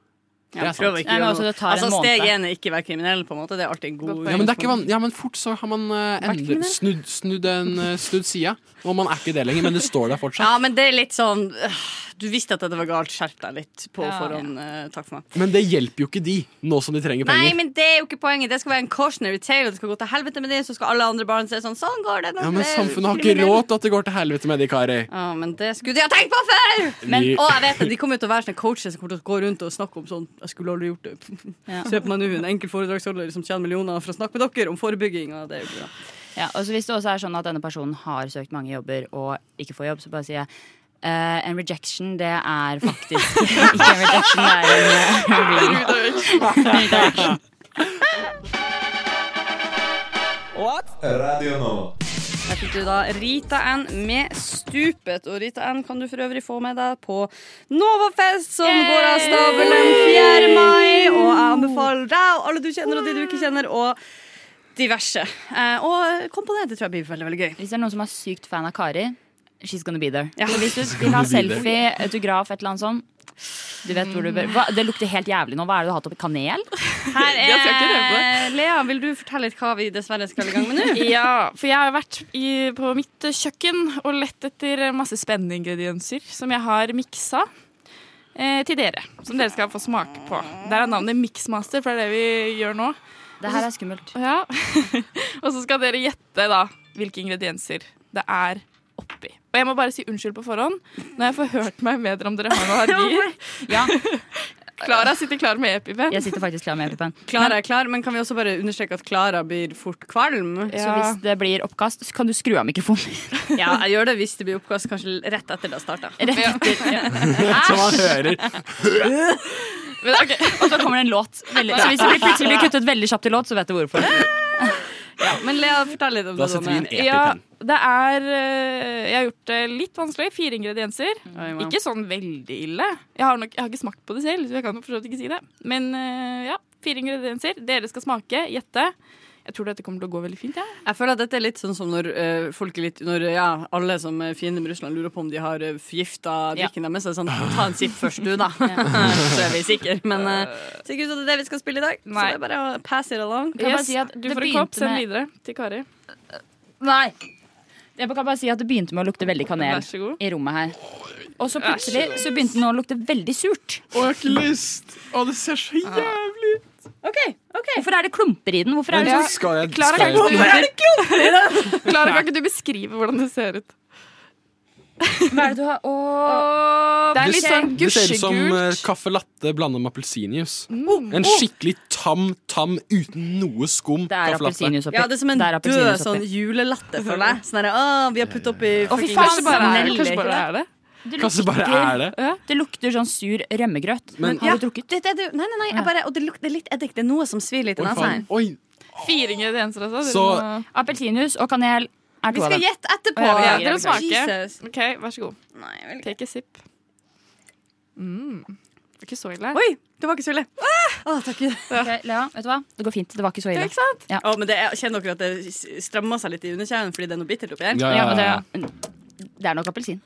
S1: Det er sant.
S6: Nei, men altså, det tar en
S5: altså,
S6: måned.
S5: steg én er ikke være kriminell, på en måte. Det er alltid en god
S1: Ja, men, det er ikke van ja, men fort så har man eh, endret, snudd, snudd, en, eh, snudd sida, og man er ikke det lenger, men det står der fortsatt.
S5: Ja, men det er litt sånn øh, Du visste at det var galt, skjerp deg litt på forhånd. øh, Takk for meg.
S1: Men det hjelper jo ikke de, nå som de trenger
S5: Nei,
S1: penger.
S5: men det er jo ikke poenget. Det skal være en cautionary tale. Det skal gå til helvete med det, så skal alle andre barn se sånn. Sånn går det når
S1: ja,
S5: du
S1: men
S5: er
S1: Samfunnet har ikke
S5: kriminell.
S1: råd til at det går til helvete med de, Kari.
S5: Ja, men det skulle de ha tenkt på før! Men,
S1: Vi-
S5: og jeg vet at de kommer jo til å være sånne coacher som kommer til å gå rundt og snakke om sånn Jeg skulle aldri gjort det.
S6: Ja.
S5: Se på meg nå, en enkel foredragsholder som tjener millioner for å snakke med dere om forebygging. Og det er jo bra.
S6: Ja, og så Hvis det også er sånn at denne personen har søkt mange jobber og ikke får jobb, så bare sier jeg eh, en rejection, det er faktisk ikke en rejection, det er en eh, re- redirection.
S3: Radio Nova.
S5: Der fikk du da Rita N med Stupet. Og Rita N kan du for øvrig få med deg på Novafest, som går av stabelen 4. mai. Og jeg anbefaler deg og alle du kjenner, og de du ikke kjenner, og diverse. Eh, og kom på det. Det tror jeg blir veldig veldig gøy.
S6: Hvis det er noen som er sykt fan av Kari, she's gonna be there.
S5: Ja.
S6: Så hvis du
S5: Gonna
S6: vil ha
S5: be there.
S6: selfie, autograf, et eller annet sånt du vet hvor du bør. Hva, det lukter helt jævlig nå. Hva er det du har hatt oppi? Kanel?
S5: Her
S6: Jeg skal ikke røpe
S5: er Lea, vil du fortelle litt hva vi dessverre skal i gang med nå?
S7: Ja, for jeg har vært i, på mitt kjøkken og lett etter masse spennende ingredienser som jeg har miksa eh, til dere. Som dere skal få smake på. Der er navnet Mixmaster, for det er det vi gjør nå.
S6: Det her er skummelt.
S7: Ja. og så skal dere gjette da hvilke ingredienser det er oppi. Og jeg må bare si unnskyld på forhånd når jeg får hørt meg bedre om dere har noen allergier.
S6: Ja.
S7: Klara sitter klar med epipen.
S6: Jeg sitter faktisk klar med epipen.
S5: Klara er klar, men kan vi også bare understreke at Klara blir fort kvalm?
S6: Så hvis det blir oppkast, så kan du skru av mikrofonen.
S5: Ja, jeg gjør det hvis det blir oppkast, kanskje rett etter det har starta.
S1: Som man hører.
S6: Og så kommer det en låt. Veldig. Så hvis det blir plutselig blir kuttet veldig kjapt i låt, så vet du hvorfor.
S5: Men Lea, fortell litt om
S6: Da
S5: det.
S6: setter vi inn
S5: Ronny.
S7: Ja, det er eh, Jeg har gjort det litt vanskelig. Fire ingredienser.
S5: wow.
S7: Ikke sånn veldig ille. Jeg har, nok, jeg har ikke smakt på det selv, så jeg kan jo for så vidt ikke si det. Men eh, ja, fire ingredienser. Dere skal smake, gjette. Jeg tror dette kommer til å gå veldig fint. Ja.
S5: Jeg føler at dette er litt sånn som når eh, folk er litt Når eh, ja, alle som er fiender med Russland lurer på om de har eh, forgifta drikken deres, så er det sånn Ta en sipp først, du, da. så er vi sikre. Men uh, ser ikke ut som det er det vi skal spille i dag, så det er bare å pass it along.
S6: Kan jeg bare si at
S7: du
S6: det
S7: får en
S6: begynte
S7: kopp, send
S6: med-
S7: videre til Kari.
S6: Nei. Jeg kan bare si at Det begynte med å lukte veldig kanel
S7: Vær så god.
S6: i rommet her. Og så
S7: Vær så
S6: plutselig
S7: god.
S6: så begynte den å lukte veldig surt.
S1: Å, jeg har ikke lyst! Å, det ser så jævlig
S6: Hvorfor er det klumper i den? Hvorfor er det
S1: Ja,
S6: sånn
S1: skal jeg-
S7: Klara,
S1: skal
S7: kan,
S1: jeg-
S7: ikke
S1: Hvorfor er
S7: du- Klara, kan ikke du beskrive hvordan det ser ut?
S6: Hva er det du har?
S7: Det er litt sånn
S1: Det ser ut som
S7: gusjegult.
S1: eh, kaffe latte blanda med appelsinjuice.
S7: Mm.
S1: En skikkelig tam, tam uten noe skum. Det
S5: Ja, det er som en død sånn julelatter, føler jeg. Sånn derre Å, vi har puttet oppi
S6: Å, fy faen,
S7: Kanskje bare er det, kanskje bare er det.
S1: Kanskje bare er det.
S6: Det lukter sånn sur rømmegrøt.
S1: Men-
S6: har du drukket?
S5: Det, det, det, nei, nei, nei. Jeg bare, og det lukter litt eddik. Det er noe som svir litt
S1: Oi,
S5: i nesa her.
S1: faen. Oi,
S7: Fire ingredienser, altså. Dere
S1: Så-
S7: må-
S6: Appelsinjuice og kanel er
S5: Vi
S6: to av
S5: skal
S6: dem.
S5: gjette etterpå.
S6: Å, ja,
S7: ja,
S6: ja,
S7: dere må
S6: beklager.
S7: smake.
S5: Jesus.
S7: OK, vær så god.
S5: Nei, jeg vil ikke.
S7: Take a sip. Mm. Det er ikke så ille.
S5: Oi, det var ikke så ille. Å, takk Gud.
S6: Ok, Lea, vet du hva? Det går fint. Det var ikke så
S7: Ja,
S6: ille.
S7: ikke sant?
S6: Ja.
S5: Å, men det, er- kjenner dere at det s- strammer seg litt i underkjeven fordi det er noe bittert oppi her?
S1: Ja, ja, ja.
S6: men det, det er nok appelsin.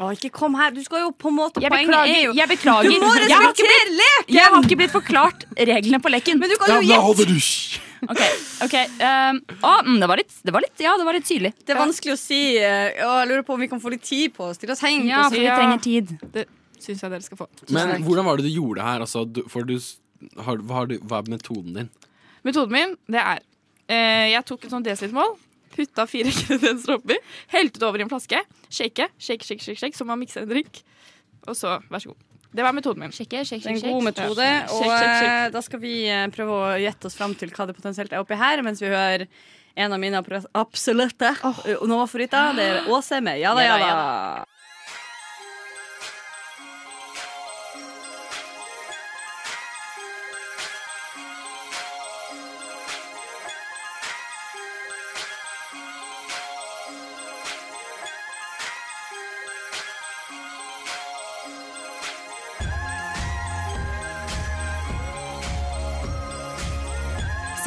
S5: Å, ikke kom her. Du skal jo på en måte
S6: Jeg
S5: Poenget er
S6: beklager.
S5: jo
S6: Jeg, beklager.
S5: Du må
S6: jeg, har ikke
S5: respektere leken!
S6: blitt, jeg har ikke blitt forklart reglene på leken.
S5: Men du kan
S1: Ja,
S5: jo
S1: da
S5: gjette.
S1: holder du kj-
S6: Ok, ok ehm, å, mm, det, var litt, det var litt Ja, det var litt syrlig.
S5: Det er vanskelig å si. eh, Å, jeg lurer på om vi kan få litt tid på oss til å henge
S6: Ja,
S5: på sånn
S6: for
S5: oss.
S6: vi
S7: Ja.
S6: trenger tid.
S7: Det syns jeg dere skal få.
S1: Men hvordan var det du gjorde det her? Altså, du, for du, s- har, hva, har du, hva er metoden din?
S7: Metoden min, det er eh, Jeg tok en sånn desilitermål, putta fire ingredienser oppi, helte det over i en flaske, shake, shake, shake, shake, shake som man mikser en drink. Og så, vær så god. Det var metoden min.
S6: Sjekke, sjekke,
S5: Det er
S6: sjekke.
S5: en god metode,
S7: Ja.
S5: og
S7: Sjekk, sjekk,
S5: eh,
S7: sjekk.
S5: da skal vi eh, prøve å gjette oss fram til hva det potensielt er oppi her, mens vi hører en av mine appra- absolutte eh, Nova-favoritter. Det er Åse med Ja da, ja da.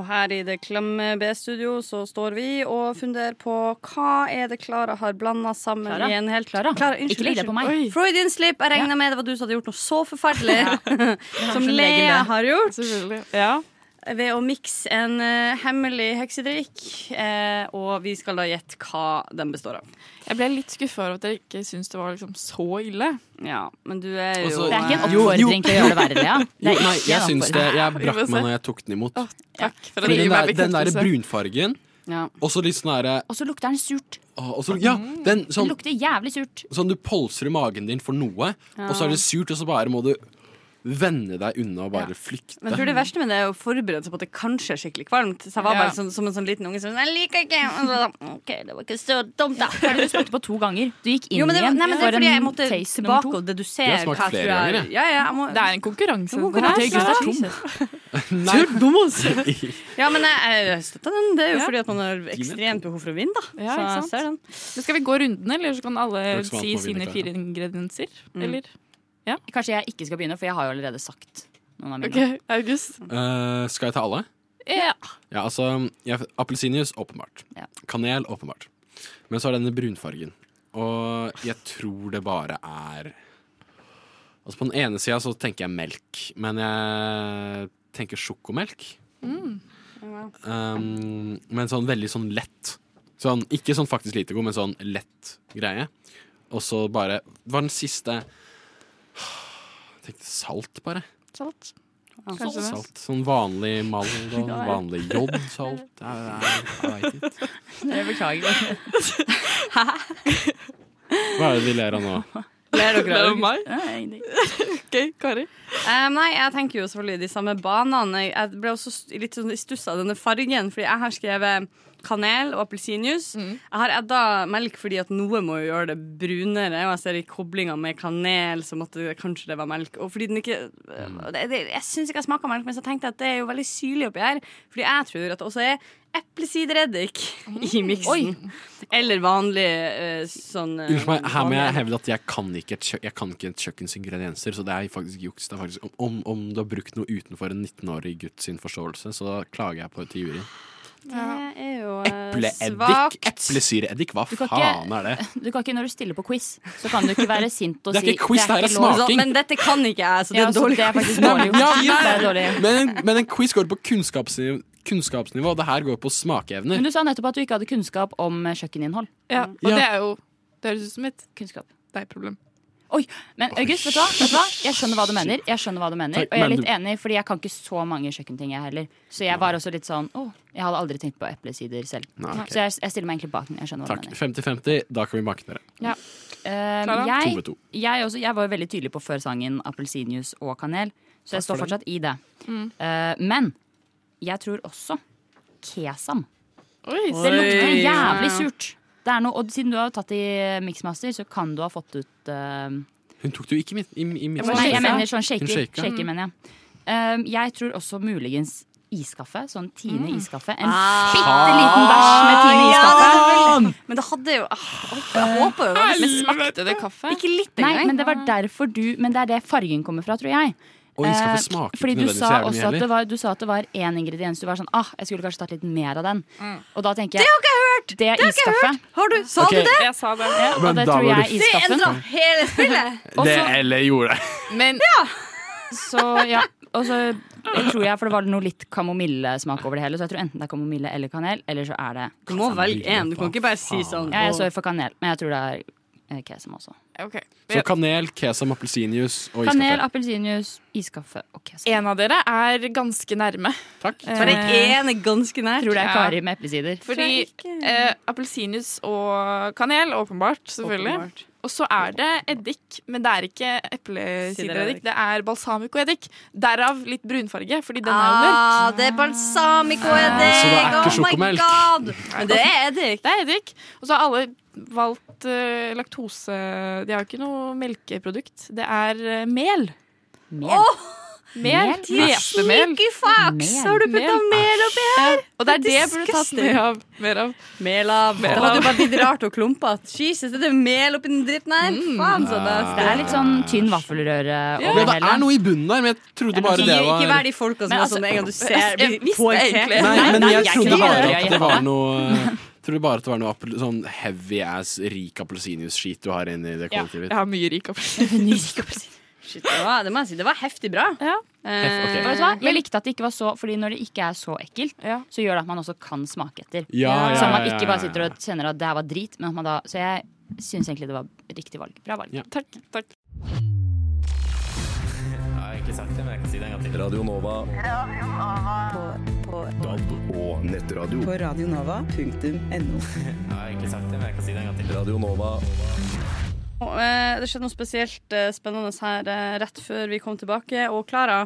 S5: Og her i det klamme B-studio så står vi og funderer på hva er det Klara har blanda sammen
S6: Klara?
S5: i en helt
S6: Klara? Ikke legg det på meg. Oi.
S5: Freudian slip. Jeg regna med det var du som hadde gjort noe så forferdelig som
S6: som sånn regel
S5: Lea
S6: det.
S5: har gjort. Ved å mikse en eh, hemmelig heksedrikk. eh, og vi skal da gjette hva den består av.
S7: Jeg ble litt skuffa over at dere ikke syntes det var liksom så ille.
S5: Ja, men du er jo eh,
S6: Det er ikke en oppfordring til å gjøre det verre, Lea. Det
S1: Jo,
S6: er
S1: nei,
S6: ikke
S1: jeg
S6: en
S1: syns det.
S6: oppfordring.
S1: Jeg brakk meg når jeg tok den imot.
S7: Takk for at
S1: Fordi den,
S7: du gir meg
S1: der, den der
S7: bekreftelse.
S1: brunfargen,
S6: Ja.
S1: og så litt sånn derre
S6: Og så lukter den surt.
S1: Å, og så- Ja, den
S6: Den
S1: sånn,
S6: lukter jævlig surt.
S1: sånn du polstrer magen din for noe,
S5: Ja.
S1: og så er det surt, og så bare må du vende deg unna og bare flykte.
S5: Men jeg tror det verste med det er å forberede seg på at det kanskje er skikkelig kvalmt. Så jeg var
S6: Ja.
S5: bare sånn, som en sånn liten unge som var sånn, jeg liker ikke Og så, var jeg sånn, OK, det var ikke så dumt, da.
S6: Hva er det du smakte på to ganger? Du gikk inn
S5: Jo, men det var-
S6: igjen
S5: nei, men det er
S6: for
S5: fordi jeg
S6: en
S5: måtte
S6: taste
S5: tilbake
S6: nummer to.
S5: og dedusere Du har smakt hva jeg flere tror er- ganger, jeg. Ja, ja, jeg må-
S7: Det er en konkurranse.
S5: En konkurranse.
S7: Det er
S5: Jesus.
S1: Nei.
S5: Ja, men jeg, jeg støtter den. Det er jo
S7: Ja.
S5: fordi at man har ekstremt behov for å vinne, da.
S7: Ja,
S5: så
S7: ikke
S5: jeg
S7: sant?
S5: ser den.
S7: Men skal vi gå runden, eller så kan
S5: er
S7: alle
S5: ikke så vant med
S7: si
S5: å vinne,
S7: sine
S5: Clara.
S7: fire ingredienser? Eller?
S6: Kanskje jeg ikke skal begynne, for jeg har jo allerede sagt noen av mine.
S7: Ok, August.
S1: Eh, skal jeg ta alle?
S7: Ja.
S1: Ja, altså jeg- Appelsinjuice, åpenbart. Kanel, åpenbart. Men så er det denne brunfargen. Og jeg tror det bare er Altså På den ene sida så tenker jeg melk, men jeg tenker sjokomelk. Um, men sånn veldig sånn lett. Sånn, ikke sånn faktisk lite god, men sånn lett greie. Og så bare Var den siste Jeg tenkte salt, bare.
S7: Salt.
S1: Salt.
S7: Kanskje det.
S1: Sånn vanlig malt og
S7: Ja, ja.
S1: vanlig joddsalt. Ja, ja, Jeg vet ikke.
S6: Jeg beklager.
S1: Hva er det de ler av nå?
S5: Ler dere
S7: Ler
S5: av
S7: av meg? OK, Kari.
S5: Um, nei, jeg tenker jo selvfølgelig de samme banene. Jeg- Jeg ble også st- litt sånn i stuss av denne fargen, fordi jeg har skrevet kanel og appelsinjuice.
S7: Mm.
S5: Jeg har edda melk fordi at noe må jo gjøre det brunere, og jeg ser i koblinga med kanel som at det, kanskje det var melk. Og fordi den ikke
S7: Mm.
S5: og det, det, Jeg syns ikke jeg smaker melk, men så tenkte jeg at det er jo veldig syrlig oppi her. Fordi jeg tror at det også er eplesidereddik
S7: Mm.
S5: i miksen. Eller vanlig eh, sånn eh,
S1: Unnskyld meg, her må
S5: vanlig-
S1: jeg hevde at jeg kan ikke et, kjø jeg kan ikke et kjøkkens ingredienser, så det er faktisk juks. Det er faktisk, om- om, om du har brukt noe utenfor en 19-årig gutt sin forståelse, så klager jeg på til juryen.
S5: Det er jo eh,
S1: Epleeddik?
S5: svakt.
S1: Eplesyreeddik? Hva
S6: Du kan
S1: faen er det?
S6: Du kan ikke Når du stiller på quiz, så kan du ikke være sint og
S1: Det er
S6: si
S1: ikke quiz, det her er
S6: lov.
S1: smaking.
S5: Men dette kan ikke jeg, så det
S6: Ja,
S5: er
S6: så
S5: dårlig.
S6: det er faktisk dårlig gjort.
S1: Ja,
S6: Det er dårlig.
S1: Men, men en quiz går på kunnskapsnivå, kunnskapsnivå og det her går på smakeevner.
S6: Men du sa nettopp at du ikke hadde kunnskap om eh, kjøkkeninnhold.
S7: Ja,
S5: Mm.
S7: og
S1: Ja.
S7: det er jo Det høres ut som et
S6: kunnskap.
S7: Det er et problem.
S6: Oi, men August, vet du, hva? vet du hva? Jeg skjønner hva du mener. Jeg skjønner hva du mener
S7: Takk,
S6: Og jeg er
S7: men
S6: litt
S7: du-
S6: enig, fordi jeg kan ikke så mange kjøkkenting, jeg heller. Så jeg var også litt sånn Å, jeg hadde aldri tenkt på eplesider selv.
S1: Nei, ok.
S6: Så jeg, jeg stiller meg egentlig bak den. Jeg skjønner hva
S1: Takk. 50-50, da kan vi banke dere.
S6: du mener. Ja. Eh,
S1: Klara? To ved
S6: jeg,
S1: to.
S6: jeg, også, jeg var jo veldig tydelig på før sangen appelsinjuice og kanel, så
S1: Takk
S6: jeg
S1: for
S6: står
S1: det.
S6: fortsatt i det. Eh, men jeg tror også kesam.
S7: Oi,
S6: Det lukter
S5: Oi.
S6: jævlig surt. Det er noe, og siden du har tatt i Mixmaster, så kan du ha fått ut eh,
S1: Hun tok det jo ikke i, i, i min
S6: Nei, jeg mener sånn shaker.
S1: Hun shaker.
S5: Mm.
S6: shaker mener jeg. Um, jeg tror også muligens iskaffe. Sånn Tine iskaffe. En
S5: Mm. Ah.
S6: bitte liten bæsj med Tine
S5: Ja,
S6: iskaffe.
S5: selvfølgelig. Men det hadde jo ah,
S6: Eh,
S5: Jeg håper jo det var
S7: Men
S5: litt-
S7: smakte det kaffe?
S5: Ikke litt
S6: Nei,
S5: engang.
S6: men det var derfor du Men det er det fargen kommer fra, tror jeg.
S1: Og iskaffe
S6: Eh,
S1: smaker ikke
S6: Fordi du
S1: nødvendigvis
S6: sa
S1: jævlig mye
S6: også at
S1: heller.
S6: det var, du sa at det var én ingrediens. Du var sånn ah, jeg skulle kanskje tatt litt mer av den. Og da tenker jeg
S5: Mm. Det har ikke jeg hørt!
S6: Det er
S5: har ikke jeg
S6: iskaffe.
S5: hørt. Har du, sa
S1: Ok.
S5: du det?
S7: Jeg sa det.
S6: Ja, og
S1: Men
S6: det
S1: da
S6: tror
S1: var
S6: jeg er
S1: du-
S5: Det endra
S6: iskaffen.
S5: hele spillet!
S1: Det eller gjorde det.
S7: Men
S6: Så ja, og så jeg tror jeg, for det var noe litt kamomillesmak over det hele, så jeg tror enten det er kamomille eller kanel, eller så er det
S5: Du må velge én. Du kan ikke bare si sånn.
S6: Ja, jeg står for kanel, men jeg tror det er eh, kesam også.
S7: OK.
S1: Så kanel, kesam, appelsinjuice og
S6: Kanel,
S1: iskaffe.
S6: appelsinjuice, iskaffe og kesam.
S7: En av dere er ganske nærme.
S1: Takk.
S5: Bare én er ganske nær.
S6: Tror det er
S7: Ja.
S6: Kari med eplesider.
S7: Fordi eh, appelsinjuice og kanel, åpenbart, selvfølgelig.
S5: Åpenbart.
S7: Og så er det eddik, men det er ikke eplesidereddik. Det er balsamicoeddik. Derav litt brunfarge, fordi den er jo mørk.
S5: Ah, det er
S1: Eh,
S5: balsamicoeddik!
S1: Så det er ikke
S5: oh my
S1: sjokomelk.
S5: god! Men det er eddik.
S7: Det er eddik. Og så har alle valgt eh, laktose De har jo ikke noe melkeprodukt. Det er eh, mel.
S6: Mel.
S5: Åh!
S7: Mel. Hvetemel.
S5: Sykefaks! Har du putta mel oppi her?
S7: Og det er det jeg burde tatt mer av. Mer av.
S5: Mel av.
S7: Mel
S5: Det var
S7: av.
S5: jo bare litt rart og klumpete. Jesus, det er mel oppi den dritten her.
S1: Mm.
S5: Faen,
S1: Ah.
S5: så nasty.
S6: Det er litt sånn tynn vaffelrøre
S1: Ja, det er noe i bunnen der, men jeg trodde bare det var
S5: Altså, Ikke vær de folka som
S6: Men
S5: var
S6: altså,
S5: sånn med en gang du
S6: jeg-
S5: ser
S6: jeg
S5: blir
S6: visste
S5: poengtert.
S6: egentlig-
S1: Nei, men jeg trodde
S6: ikke
S1: bare
S6: det.
S1: at
S6: Jeg
S1: det var
S6: har
S1: noe Tror du bare at det var noe appel- sånn heavy ass rik appelsinjuice-skit du har inni det
S7: Ja,
S1: kollektivet?
S7: jeg har mye rik appelsin.
S5: Shit, det, var, det må jeg si. Det var heftig bra. Eh,
S1: Hef- ok.
S6: Og vet du hva? Jeg likte at det ikke var så Fordi når det ikke er så ekkelt, så gjør det at man også kan smake etter.
S1: Ja, ja,
S6: så man
S1: ja, ja,
S6: ikke bare
S1: ja,
S6: sitter og kjenner at det her var drit. Men at man da, så jeg syns egentlig det var riktig valg. Bra valg.
S7: Takk, takk.
S2: Jeg har egentlig sagt det, men jeg kan si det en gang til.
S13: Radio Nova. DAB og nettradio.
S12: På radionova.no.
S2: Jeg har egentlig sagt det, men jeg kan si det en gang til.
S13: E Radio Nova.
S5: Og, eh, det skjedde noe spesielt eh, spennende her eh, rett før vi kom tilbake. Og Klara,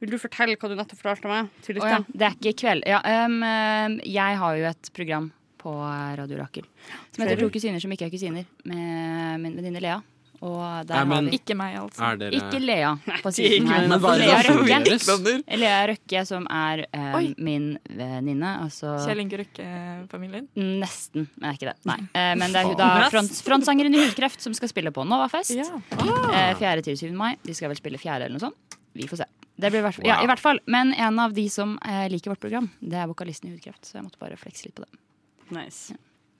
S5: vil du fortelle hva du nettopp fortalte meg? til
S6: Å ja,
S5: lytteren?
S6: det er ikke i kveld. Ja, ehm, ehm, jeg har jo et program på Radio Rakel som heter
S1: Flere.
S6: To kusiner som ikke er kusiner, med min venninne Lea. Og der
S1: Nei, men-
S6: har vi
S1: Ikke meg, altså. Er dere-
S6: Ikke Lea på
S1: det er ikke
S6: siden her.
S1: meg. Men hva er det
S6: Lea
S1: som
S6: Røkke.
S1: forvirres?
S6: Lea Røkke, som er ehm,
S7: Oi.
S6: min venninne. Altså
S7: Kjell Inge Røkke-familien.
S6: Nesten, men det er ikke det. Nei. Eh, men det er hun
S7: Faen.
S6: da front, frontsangeren i Hudkreft som skal spille på Novafest. Ja.
S5: Ah.
S6: Eh, 4. til 7. mai. De skal vel spille 4. eller noe sånt. Vi får se. Det blir i hvert fall, ja, i hvert fall. Men en av de som eh, liker vårt program, det er vokalisten i Hudkreft. Så jeg måtte bare flekse litt på det.
S5: Nice.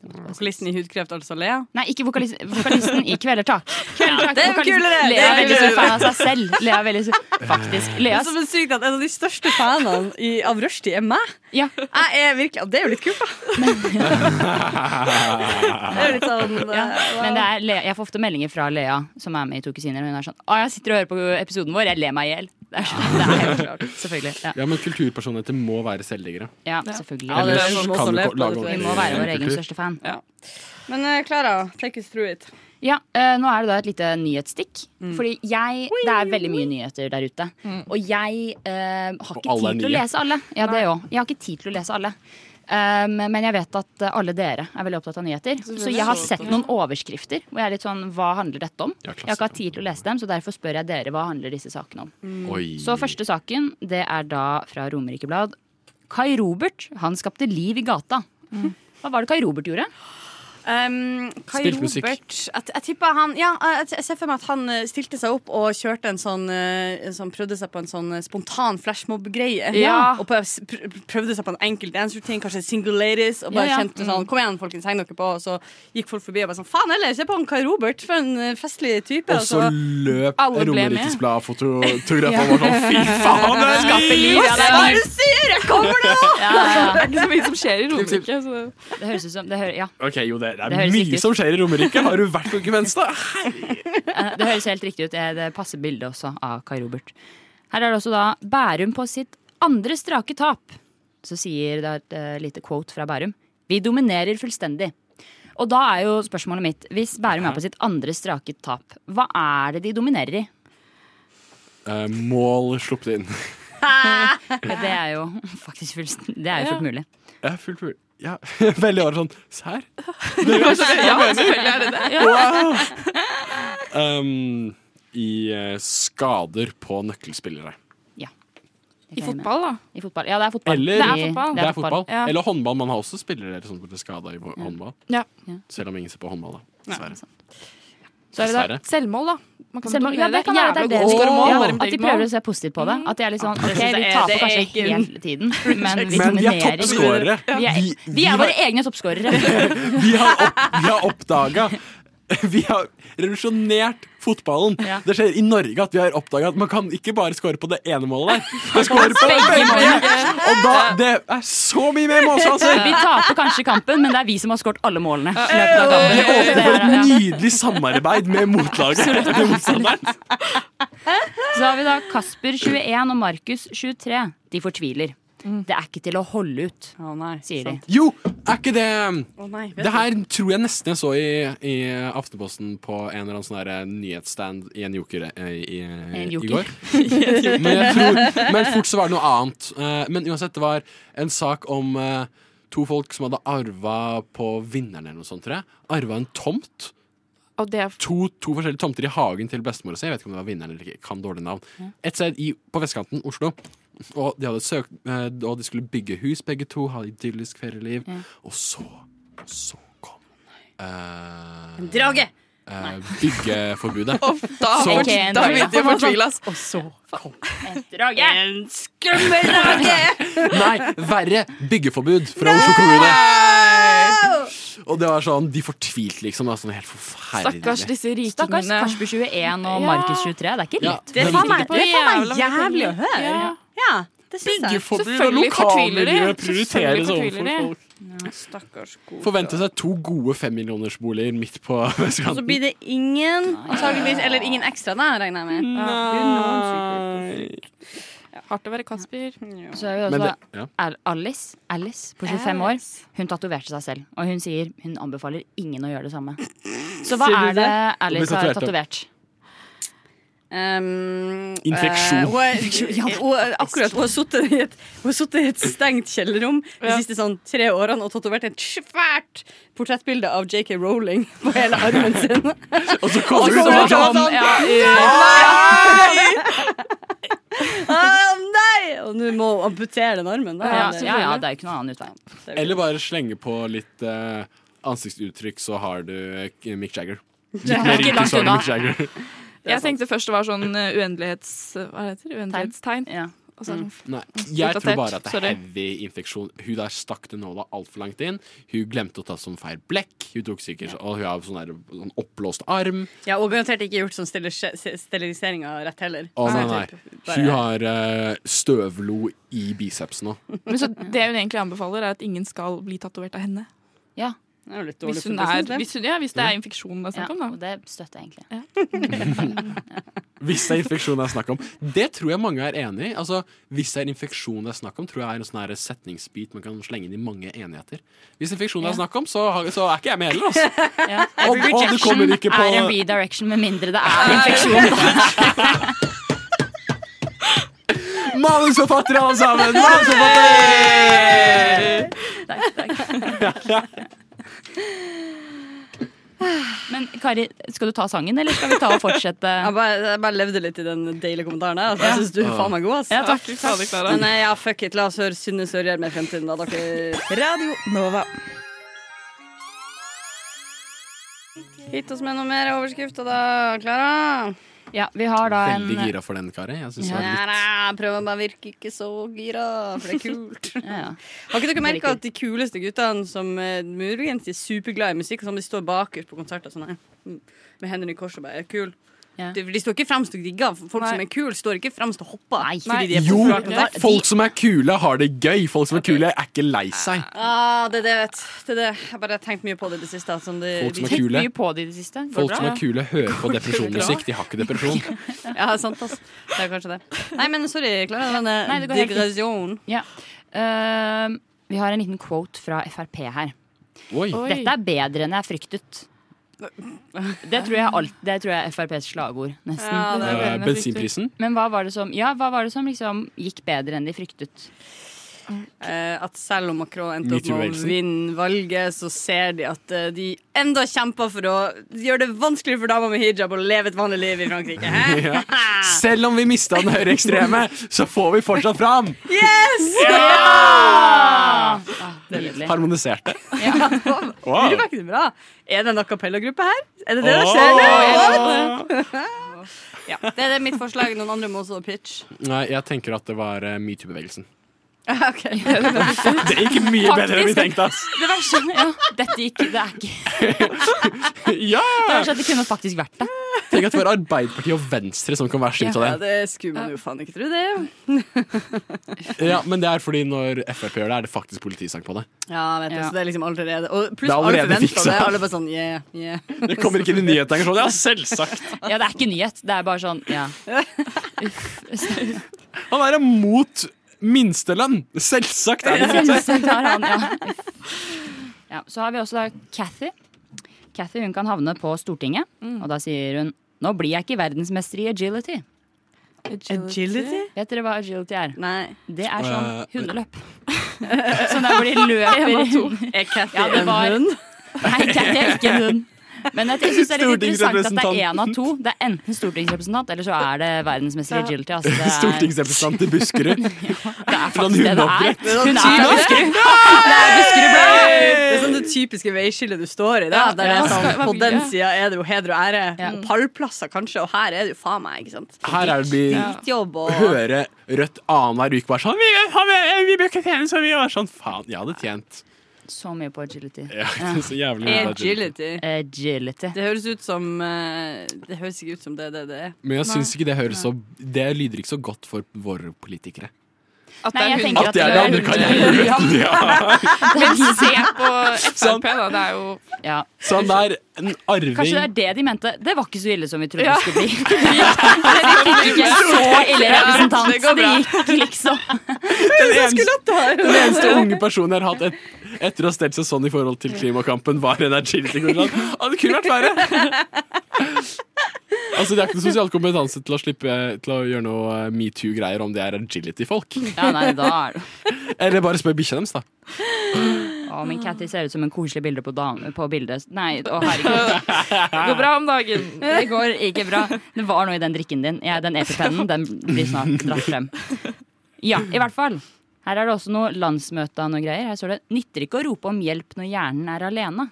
S5: Vokalisten i Hudkreft, altså Lea?
S6: Nei, ikke vokalisten, vokalisten i Kvelertak. Kvelertak.
S5: det er jo
S6: Vokalisten-
S5: kulere!
S6: Lea er veldig stor fan av seg selv. Lea er veldig stor- Faktisk. Lea
S5: Som er sykt at En av de største fanene i, av Rushdie er meg. Jeg er virkelig, Det er jo litt kult, da. Det er jo litt sånn
S6: ja.
S5: eh, wow.
S6: Men det er, Lea- jeg får ofte meldinger fra Lea, som er med i To kusiner, og hun er sånn Å, jeg sitter og hører på episoden vår, jeg ler meg i hjel. Det er, sånn, det er helt klart. Selvfølgelig. Ja.
S1: Ja, men kulturpersonligheter må være selvdiggere.
S6: Ja, selvfølgelig.
S5: Ja, det er
S1: Ellers
S5: sånn
S1: kan
S5: også
S1: du
S5: leve
S1: ikke
S5: på
S1: lage
S5: det, tror jeg.
S1: ordentlig
S6: Vi må være vår egen
S1: kultur.
S6: største fan.
S5: Men eh, Klara, take us through it.
S6: Ja, eh, Nå er det da et lite nyhetsstikk. Fordi jeg, det er veldig mye nyheter der ute. Og jeg eh, har ikke
S5: alle er
S6: tid til å
S5: nye.
S6: lese alle. Ja, det òg. Jeg har ikke tid til å lese alle. Um, men jeg vet at eh, alle dere er veldig opptatt av nyheter.
S5: Selvfølgelig.
S6: Så jeg har
S5: Så
S6: sett
S5: opptatt.
S6: noen overskrifter hvor jeg er litt sånn Hva handler dette om?
S5: Ja, klasse.
S6: Jeg har ikke hatt tid til å lese dem, så derfor spør jeg dere hva handler disse sakene om.
S5: Mm.
S1: Oi.
S6: Så første saken, det er da fra Romerike Blad. Kai Robert, han skapte liv i gata. Hva var det Kai Robert gjorde?
S5: Um, Kai
S6: Spilt musikk.
S5: Robert, jeg, jeg tipper han ja, jeg, jeg ser for meg at han eh, stilte seg opp og kjørte en sånn, eh, en sånn Prøvde seg på en sånn eh, spontan flashmob-greie.
S7: Ja.
S5: Og prøv- pr- prøvde seg på en enkelt dancer-ting, kanskje single ladies. Og bare
S7: Ja, ja.
S6: Mm.
S5: kjente sånn Kom igjen, folkens, heng dere på. Og så gikk folk forbi og bare sånn Faen heller, se på han Kai Robert, for en eh, festlig type.
S1: Og
S6: altså,
S1: så løp
S5: Alle ble med.
S1: Romerikes Blad fotografen
S5: Ja.
S1: og var sånn fy faen, det er
S5: Skape liv, ja, det er
S1: Hva
S5: liv.
S1: er det du
S5: sier? Jeg kommer nå!
S6: Ja, ja, ja.
S7: Det er ikke så mye som skjer i Romerike.
S6: Det høres ut som det hø- ja.
S1: Ok, jo, det, det er
S6: Det høres riktig
S1: mye
S6: ut.
S1: som skjer i Romerike. Har du vært på Gvenstad?
S6: Eh, Det høres helt riktig ut. Eh, Det passer bildet også av Kai Robert. Her er det også da Bærum på sitt andre strake tap. Så sier det et eh, lite quote fra Bærum. Vi dominerer fullstendig. Og da er jo spørsmålet mitt, hvis Bærum er på sitt andre strake tap, hva er det de dominerer i?
S1: Eh, mål sluppet inn.
S6: Det er jo faktisk fullst, det er jo fullt mulig.
S1: Ja, fullt mulig. Ja, veldig rart sånn Serr?
S6: Ja, selvfølgelig er det det. Ja.
S1: Wow. Um, I eh, skader på nøkkelspillere.
S6: I fotball, da? I fotball. Ja, det er fotball.
S1: Eller,
S6: det er fotball.
S1: Det er fotball.
S6: Ja.
S1: Eller håndball. Man har også spillere sånn som blir skada i hå- håndball.
S7: Ja.
S1: Selv om ingen ser på håndball, da. Dessverre.
S6: Så er det da
S1: Dessverre.
S7: Selvmål, da. Man kan
S6: Selvmål, ja,
S7: dominere.
S6: det kan være
S7: Jævla
S6: det er det
S7: god
S6: de-
S7: skårer mål,
S6: ja,
S7: bare med
S6: At de
S7: eget
S6: prøver
S7: mål.
S6: å se positivt på det. At de er litt sånn
S7: Jeg
S6: OK,
S7: synes
S6: vi
S7: det er-
S6: taper
S7: det er
S6: kanskje
S7: ikke-
S6: hele tiden, men vi
S1: Men vi er
S6: dominerer.
S1: toppskårere.
S6: Vi er,
S1: Vi-
S6: vi er våre egne toppskårere.
S1: Vi har, opp, vi har oppdaga Vi har revolusjonert fotballen. Det skjer i Norge at vi har oppdaga at man kan ikke bare score på det ene målet der. Man scorer på
S6: Begge
S1: begge!
S6: målene.
S1: Og da Det er så mye mer målsjanser!
S6: Vi taper kanskje kampen, men det er vi som har skåret alle målene. i løpet av kampen.
S1: Vi åpner for
S6: Det er-
S1: et nydelig samarbeid med motlaget. Med motstanderen.
S6: Så har vi da Kasper 21 og Markus 23. De fortviler. Det er ikke til Mm. å holde ut, sier de.
S1: Jo, er ikke det um,
S5: nei, vet
S1: Det her tror jeg nesten jeg så i, i Aftenposten på en eller annen sånn der nyhetsstand i en joker, eh, i,
S6: En joker.
S1: i går. men, jeg tror, men fort så var det noe annet. Eh, Men uansett, det var en sak om eh, to folk som hadde arva på vinneren eller noe sånt, tror jeg. Arva en tomt.
S7: Og det er
S1: to, to forskjellige tomter i hagen til bestemora si. Jeg vet ikke om det var vinneren eller ikke. Kan dårlig navn.
S7: Ja.
S1: Et sted i, på vestkanten, Oslo. Og de, hadde søkt, eh, og de skulle bygge hus, begge to. Ha idyllisk ferieliv.
S5: Ja.
S1: Og så, og så kom eh,
S5: En drage!
S1: eh, byggeforbudet.
S5: da-
S1: Så-
S5: Ok, en Da drage. begynte jeg å fortvile, ass.
S6: Og så
S1: kom
S6: Drage!
S5: En skummel drage!
S1: Nei, verre! Byggeforbud fra Oslo kommune. Og det var sånn, de fortvilte liksom. Det var sånn helt forferdelig.
S6: Stakkars
S7: disse rikingene.
S6: Stakkars Karsten 21 og
S1: Ja.
S6: Markus 23. Det er ikke
S1: Ja.
S6: lett.
S1: Det er faen meg-
S5: det er faen meg jævlig å høre.
S6: Ja.
S5: Ja, det syns jeg.
S1: Byggeforbud og Selvfølgelig fortviler de. lokalmiljøet prioriteres Selvfølgelig fortviler de. overfor
S5: Ja, stakkars gode.
S1: Forvente seg to gode femmillionersboliger midt på
S5: Og så
S1: vestkanten.
S5: Altså, blir det ingen, antageligvis, eller ingen ekstra, da, regner jeg med.
S7: Hardt å være Kasper.
S6: Så er vi også
S7: Men det-
S1: ja.
S6: Al- Alice, Alice på 25 år. Hun tatoverte seg selv, og hun sier hun anbefaler ingen å gjøre det samme. Så hva
S5: Sier du
S6: er det
S5: det?
S6: Alice
S5: Hun blir
S6: har
S5: tatovert,
S6: tatovert?
S5: Um,
S6: Infeksjon.
S5: eh, hun er- hun er- akkurat, hun har sittet i, et- hun har sittet i et stengt kjellerrom de siste sånn, tre årene og tatovert et svært portrettbilde av JK Rowling på hele armen sin.
S1: og så
S5: kommer
S6: hun
S5: hun
S6: ut og
S5: sånn,
S6: sånn, ja,
S5: Nei! Ah, nei! Og nå må hun amputere den armen. Da.
S6: Ja,
S5: Eller-
S6: ja, ja, det er jo ikke noen annen utvei.
S1: Eller bare slenge på litt eh, ansiktsuttrykk, så har du eh, Mick Jagger. Litt
S7: Ja.
S1: mer
S7: Ikke
S1: rykte,
S7: langt
S1: så har du
S7: unna.
S1: Mick Jagger.
S7: Jeg tenkte først det var sånn eh, uendelighets... Hva heter det? Uendelighetstegn. Og så er det sånn,
S1: Nei, jeg tror
S7: Oppdatert,
S1: bare at det er
S7: sorry.
S1: heavy infeksjon. Hun der stakk den nåla altfor langt inn. Hun glemte å ta sånn feil blekk. Hun tok sikkert, og hun har sånn, der, sånn oppblåst arm.
S5: Ja, og garantert ikke gjort sånn steril- steriliseringa rett heller.
S1: Å, nei,
S5: Sånn typ,
S1: nei.
S5: bare-
S1: Hun har eh, støvlo i bicepsen nå.
S7: Men så det hun egentlig anbefaler, er at ingen skal bli tatovert av henne.
S6: Ja.
S5: Det er jo litt
S7: Hvis,
S5: dårlig
S7: hun
S5: for
S7: er,
S5: business, det.
S7: hvis, hun, ja, hvis det er infeksjonen det er snakk om, da.
S6: Og det støtter jeg egentlig.
S1: Hvis det er infeksjon det er snakk om. Det tror jeg mange er enig i. Altså, hvis det er infeksjon det er snakk om, tror jeg er en sånn her setningsbit man kan slenge inn i mange enigheter. Hvis infeksjon det er snakk om, så, har- så er ikke jeg med heller, altså.
S6: Ja.
S1: Og- og du kommer
S6: Rejection
S1: ikke på-
S6: er en redirection med mindre det er infeksjon.
S1: Manusforfattere alle sammen! Manusforfattere!
S6: Men Kari, skal du ta sangen, eller skal vi ta og fortsette?
S5: Jeg bare, jeg bare levde litt i den deilige kommentaren. her, Altså,
S6: Ja.
S5: Jeg syns du er faen meg god. ass.
S6: Ja, takk. Fader, Klara.
S5: Men eh, ja, fuck it. La oss høre Synne Sørgjerd med Fremtiden, da, dere. Radio Nova. Hit oss med noe mer overskrifter, da, Klara.
S6: Ja, vi har da en
S1: Veldig gira for den, Kari. Jeg synes det
S5: Ja,
S1: var litt
S5: nei, prøv å bare virke ikke så gira, for det er kult. Har ikke dere
S6: Det er
S5: merka at de kuleste guttene som eh, muligens er superglad i musikk, og sånn, de står bakerst på konserter sånn her, mm, med hendene i kors og bare er kul.
S6: Ja.
S5: De, de står ikke fremst og digger. Folk som
S6: Nei.
S5: er kule, står ikke fremst og hopper.
S1: Nei.
S5: Fordi de er på
S1: Jo,
S5: full konsert.
S1: folk som er kule, har det gøy. Folk som er kule, er ikke lei seg.
S5: Ah, det er det, vet du. det, er det. Jeg bare har tenkt mye på det i det siste. at Sånn, det,
S1: Folk som
S5: de-
S1: er kule. Tenkt mye
S6: på det i det siste.
S1: Folk som er kule, hører på depresjonmusikk.
S5: bra?
S1: De har ikke depresjon.
S5: Ja, sant, ass. Det er kanskje det. Nei, men sorry, Klara. Det var en
S6: Nei, det går helt fint.
S5: digresjon.
S6: Ja. Eh, vi har en liten quote fra Frp her.
S1: Oi. Oi.
S6: Dette er bedre enn jeg fryktet. Det tror jeg, alt, det tror jeg er FrPs slagord, nesten.
S1: Ja, det er bedre enn jeg Eh, fryktet. bensinprisen?
S6: Men hva var det som, ja, hva var det som liksom gikk bedre enn de fryktet?
S5: Eh, at selv om Macron endte opp med å
S6: Metoo-bevegelsen.
S5: vinne valget, så ser de at eh, de enda kjemper for å gjøre det vanskelig for damer med hijab å leve et vanlig liv i Frankrike. Hæ?
S1: Ja. Selv om vi mista den høyreekstreme, så får vi fortsatt fram!
S5: Yes!
S1: Ja!
S5: Ah, det er nydelig.
S1: Harmoniserte.
S5: Ja.
S1: Wow.
S5: Det var ikke bra. Er det en a cappella-gruppe her? Er det det det
S1: Åh!
S5: skjer? Ja, det er det mitt forslag. Noen andre må også pitch.
S1: Nei, jeg tenker at det var eh, metoo-bevegelsen.
S5: Ok.
S1: Det gikk mye bedre enn vi tenkte, ass!
S6: Det verste, ja, dette gikk, det er ikke
S1: Ja!
S6: Det verste er sånn at det kunne faktisk vært det.
S1: Tenk at det var Arbeiderpartiet og Venstre som kan være skyld av
S5: Ja,
S1: det.
S5: det skulle man jo faen ikke tro, det.
S1: Ja, men det er fordi når Frp gjør det, er det faktisk politisang på det.
S5: Ja, vet du, så det er liksom allerede Og pluss
S1: Det er
S5: alle
S1: allerede
S5: forventer
S1: fiksa.
S5: det. Alle bare sånn yeah, yeah.
S1: Det kommer ikke inn i nyhetene. Sånn, ja, selvsagt!
S6: Ja, det er ikke nyhet. Det er bare sånn, ja.
S1: Han er imot minstelønn! Selvsagt er det
S6: Selvsagt
S1: ikke
S6: har han, ja. ja. Så har vi også da Cathy. Cathy hun kan havne på Stortinget, og da sier hun nå blir jeg ikke verdensmester i agility.
S5: Agility?
S6: Vet dere hva agility er?
S5: Nei.
S6: Det er sånn
S5: Eh,
S6: hundeløp. Sånn der hvor de løper
S5: En av to. Er Cathy
S6: det
S5: en
S6: var-
S5: hund?
S6: Nei, Cathy er ikke en hund. Men jeg, jeg synes det er litt interessant at det er
S1: Stortingsrepresentanten.
S6: én av to. Det er enten stortingsrepresentant, eller så er det verdensmester i agility. Altså, det er-
S1: Stortingsrepresentant i Buskerud.
S6: Det er
S1: Fra
S6: faktisk det det er.
S1: Nunneopprett.
S5: Det er sånn
S6: Hun er
S5: typisk-
S6: Buskerud.
S5: Det er Buskerud Blad.
S6: Yay!
S5: Det er sånn det typiske veiskillet du står i. Da.
S6: Ja,
S5: Der det
S6: ja.
S5: er sånn,
S6: Hva
S5: på
S6: blir
S5: den
S6: det?
S5: sida er det jo heder og ære. Og pallplasser, kanskje. Og her er det jo faen meg. ikke sant?
S1: Her er det vi
S5: Drittjobb og
S1: høre Rødt annenhver uke bare sånn Vi, vi, vi bør ikke tjene så mye! Og er Sånn, faen, jeg hadde tjent
S6: Så mye på agility.
S1: Ja, så jævlig mye på
S5: Agility.
S6: Agility.
S5: Det høres ut som eh, Det høres ikke ut som det det, det er.
S1: Men jeg syns ikke det høres så Det lyder ikke så godt for våre politikere.
S7: At
S5: Nei, jeg tenker
S1: At det er det andre karrieren! Ja.
S7: Men se på Frp, da. Det er jo
S6: Ja.
S1: Sånn der, en arving
S6: Kanskje det er det de mente. Det var ikke så ille som vi trodde
S7: Ja.
S6: det skulle bli. De fikk ikke så ille representant.
S7: Det går
S6: Det
S7: bra.
S6: gikk liksom.
S1: Den eneste, den eneste unge personen jeg har hatt et, etter å ha stelt seg sånn i forhold til klimakampen, var en agility-konkurrent. Og det kunne vært verre! Altså, De har ikke noe sosial kompetanse til å slippe Til å gjøre noe eh, metoo-greier om det er agility-folk.
S6: Ja, nei, da er det
S1: Eller bare spør bikkja deres, da.
S6: Å,
S7: Ah.
S6: men Catty ser ut som en koselig bilde på, dame, på bildet. Nei, å herregud.
S7: Det går bra om dagen.
S6: Det går ikke bra. Det var noe i den drikken din. Ja, den epipennen den blir snart dratt frem. Ja, i hvert fall. Her er det også noe landsmøte og noe greier. Her står det 'nytter ikke å rope om hjelp når hjernen er alene'.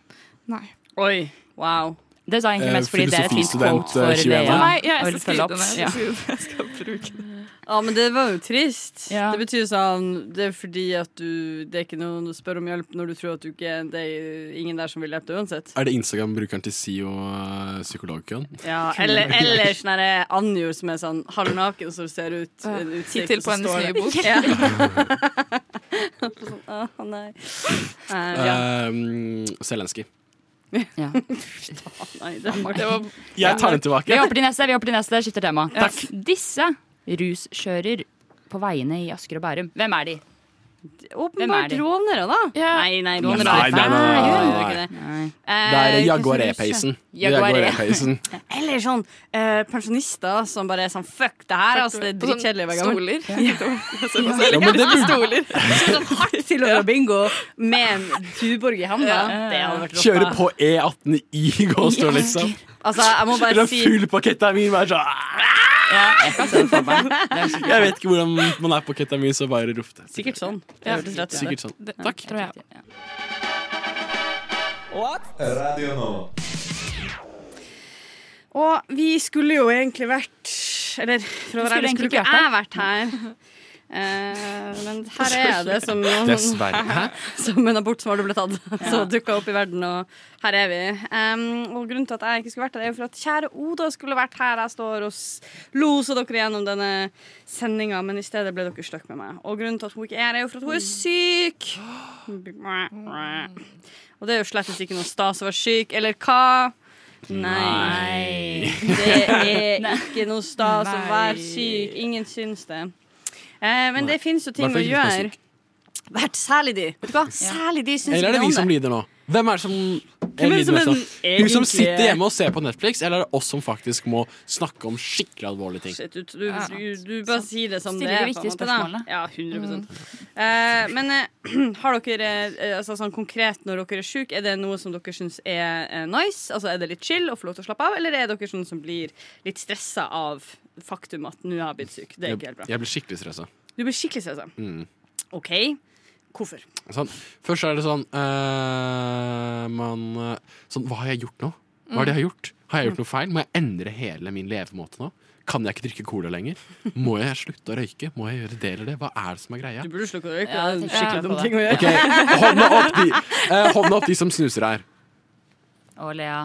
S7: Nei.
S6: Oi, wow. Det sa jeg
S1: Eh,
S6: egentlig mest fordi det er et fint
S1: filosofistudent,
S6: quote for
S1: eh, 21.
S6: det.
S1: For
S7: Nei,
S6: vil
S7: jeg skal skrive
S6: følge opp.
S7: den her.
S6: Ja.
S7: Jeg skal skrive den. Jeg skal bruke den.
S5: Ja, men det var jo trist. Det betyr sånn Det er fordi at du Det er ikke noen du spør om hjelp når du tror at du ikke Det er ingen der som vil hjelpe deg uansett.
S1: Er det Instagram-brukeren til SIO eh, psykologkøen?
S5: Ja, eller, eller sånn her Anjor som er sånn halvnaken som ser ut
S7: Ja.
S5: en utsikt, og
S7: Tittel
S5: så
S7: på hennes
S5: står
S7: nye
S5: det-
S7: bok.
S5: Ja. sånn, Å nei. Eh, ja.
S1: Eh, Zelenskyj.
S6: Ja.
S5: nei. Det var
S1: Jeg tar den
S6: Vi
S1: tilbake.
S6: hopper til neste, vi hopper til neste, skifter tema.
S1: Takk.
S6: Disse ruskjører på veiene i Asker og Bærum. Hvem er de?
S5: Åpenbart
S6: de?
S5: rånere, da. Nei, nei, rånere
S1: Nei, nei, nei, nei,
S5: Gjør jo
S1: nei.
S5: ikke det.
S1: Det er
S5: Eh,
S1: Jaguar
S5: hva
S1: E-Pacen.
S5: skal du si?
S1: Jaguar
S5: Jaguar E.
S1: E-Pacen.
S5: Eller sånn eh, pensjonister som bare er sånn Fuck det her, altså. Det er
S7: Og sånn
S5: dritkjedelig å være gammel.
S7: Stoler. sånn-
S1: Ja, men det burde-
S5: Sånn hardt til å gjøre bingo med en tuborg i handa. Det hadde vært rått.
S1: Kjøre på E18 i gåstol, liksom.
S5: Altså, jeg må
S1: Kjøre
S5: bare si
S1: full på ketamin. Bare sånn Jeg vet ikke hvordan man er på ketamin, så bare rop det.
S5: Sikkert sånn. Det
S7: Ja.
S5: hørtes rett ut.
S1: Sikkert sånn.
S7: Takk. Tror jeg.
S3: Radio Nova.
S5: Og vi skulle jo egentlig vært Eller for å
S6: Vi
S5: være ærlig,
S6: skulle
S5: skulle
S6: egentlig
S5: ikke jeg vært her. Eh, men her er jeg det som
S1: Dessverre. Hæ?
S5: Som en abort som aldri ble tatt. Så dukka opp i verden, og her er vi. Em, og grunnen til at jeg ikke skulle vært her, er jo for at kjære Oda skulle vært her. Jeg står og s- loser dere gjennom denne sendinga, men i stedet ble dere stuck med meg. Og grunnen til at hun ikke er her, er jo for at hun er syk. Og det er jo slett ikke noe stas å være syk, eller hva? Nei. Det er ikke noe stas å være syk. Ingen syns det. Eh, men det fins jo ting
S1: Hvertfall
S5: å
S1: ikke hvis man er
S5: gjøre. Vært særlig de. Vet du hva? Særlig de syns
S1: Eller er det vi
S5: ikke
S1: som
S5: om det.
S1: lider nå? Hvem er det som
S5: Hvem er det
S1: lider
S5: som er den
S1: mest nå? Hun som
S5: egentlige-
S1: sitter hjemme og ser på Netflix, eller er det oss som faktisk må snakke om skikkelig alvorlige ting?
S5: Shit, du, du, du, du bare sier det som det
S6: Stiller
S5: er. på
S6: de
S5: en måte,
S6: viktige
S5: da.
S6: spørsmålene.
S5: Ja, 100 eh, Men eh, har dere eh, altså, sånn konkret når dere er syke, er det noe som dere syns er eh, nice? Altså, Er det litt chill og få lov til å slappe av, eller er dere sånn som blir litt stressa av faktum at nå har jeg blitt syk? Det er ikke helt bra.
S1: Jeg blir skikkelig stressa.
S5: Du blir skikkelig stressa.
S1: Mm.
S5: OK, hvorfor?
S1: Sånn. Først er det sånn eh, man, eh, Sånn, hva har jeg gjort nå? Hva er det jeg har gjort? Har jeg gjort noe feil? Må jeg endre hele min levemåte nå? Kan jeg ikke drikke cola lenger? Må jeg slutte å røyke? Må jeg gjøre det eller det? Hva er det som er greia?
S5: Du burde slukke å røyke.
S6: Ja,
S5: det er en
S6: jeg tenker
S5: skikkelig
S6: på
S5: dum
S6: det.
S5: ting å gjøre.
S1: Ok, hånda opp de, eh, hånda opp de som snuser her.
S6: Å, Lea.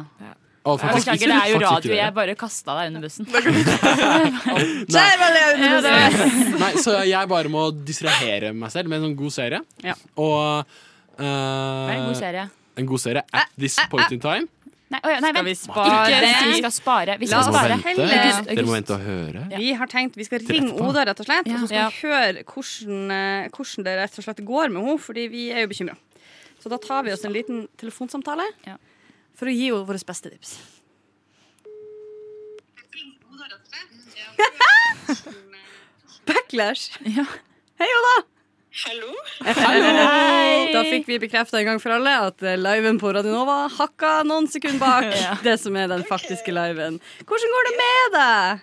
S1: Å, faktisk,
S6: Beklager, det er
S1: faktisk
S6: jo
S1: ikke
S6: radio.
S1: dere.
S6: Jeg bare kasta deg under bussen.
S5: Der var Lea ute!
S6: Ja, det var-
S1: Nei, så jeg bare må distrahere meg selv med en sånn god serie.
S5: Ja.
S1: Og eh,
S6: Det er en god serie.
S1: en god serie at this point in time.
S6: Nei, oi, nei,
S5: Skal vi
S6: vent.
S5: spare?
S6: Ikke si vi skal spare. Vi
S5: La
S6: skal
S5: oss
S1: Dere må
S6: spare.
S1: vente,
S5: August,
S1: dere må vente og høre.
S5: Vi har tenkt vi skal ringe
S1: etterpå.
S5: Oda, rett og slett, og så skal
S6: Ja.
S5: vi høre hvordan, eh, hvordan det rett og slett går med henne, fordi vi er jo bekymra. Så da tar vi oss en liten telefonsamtale
S6: Ja.
S5: for å gi henne våre beste tips. Backlash!
S6: Ja.
S5: Hei, Oda!
S14: Hallo?
S5: Hei! Da fikk vi bekrefta en gang for alle at eh, liven på Radionova hakka noen sekunder bak
S14: Ja.
S5: det som er den faktiske liven. Hvordan går det med deg?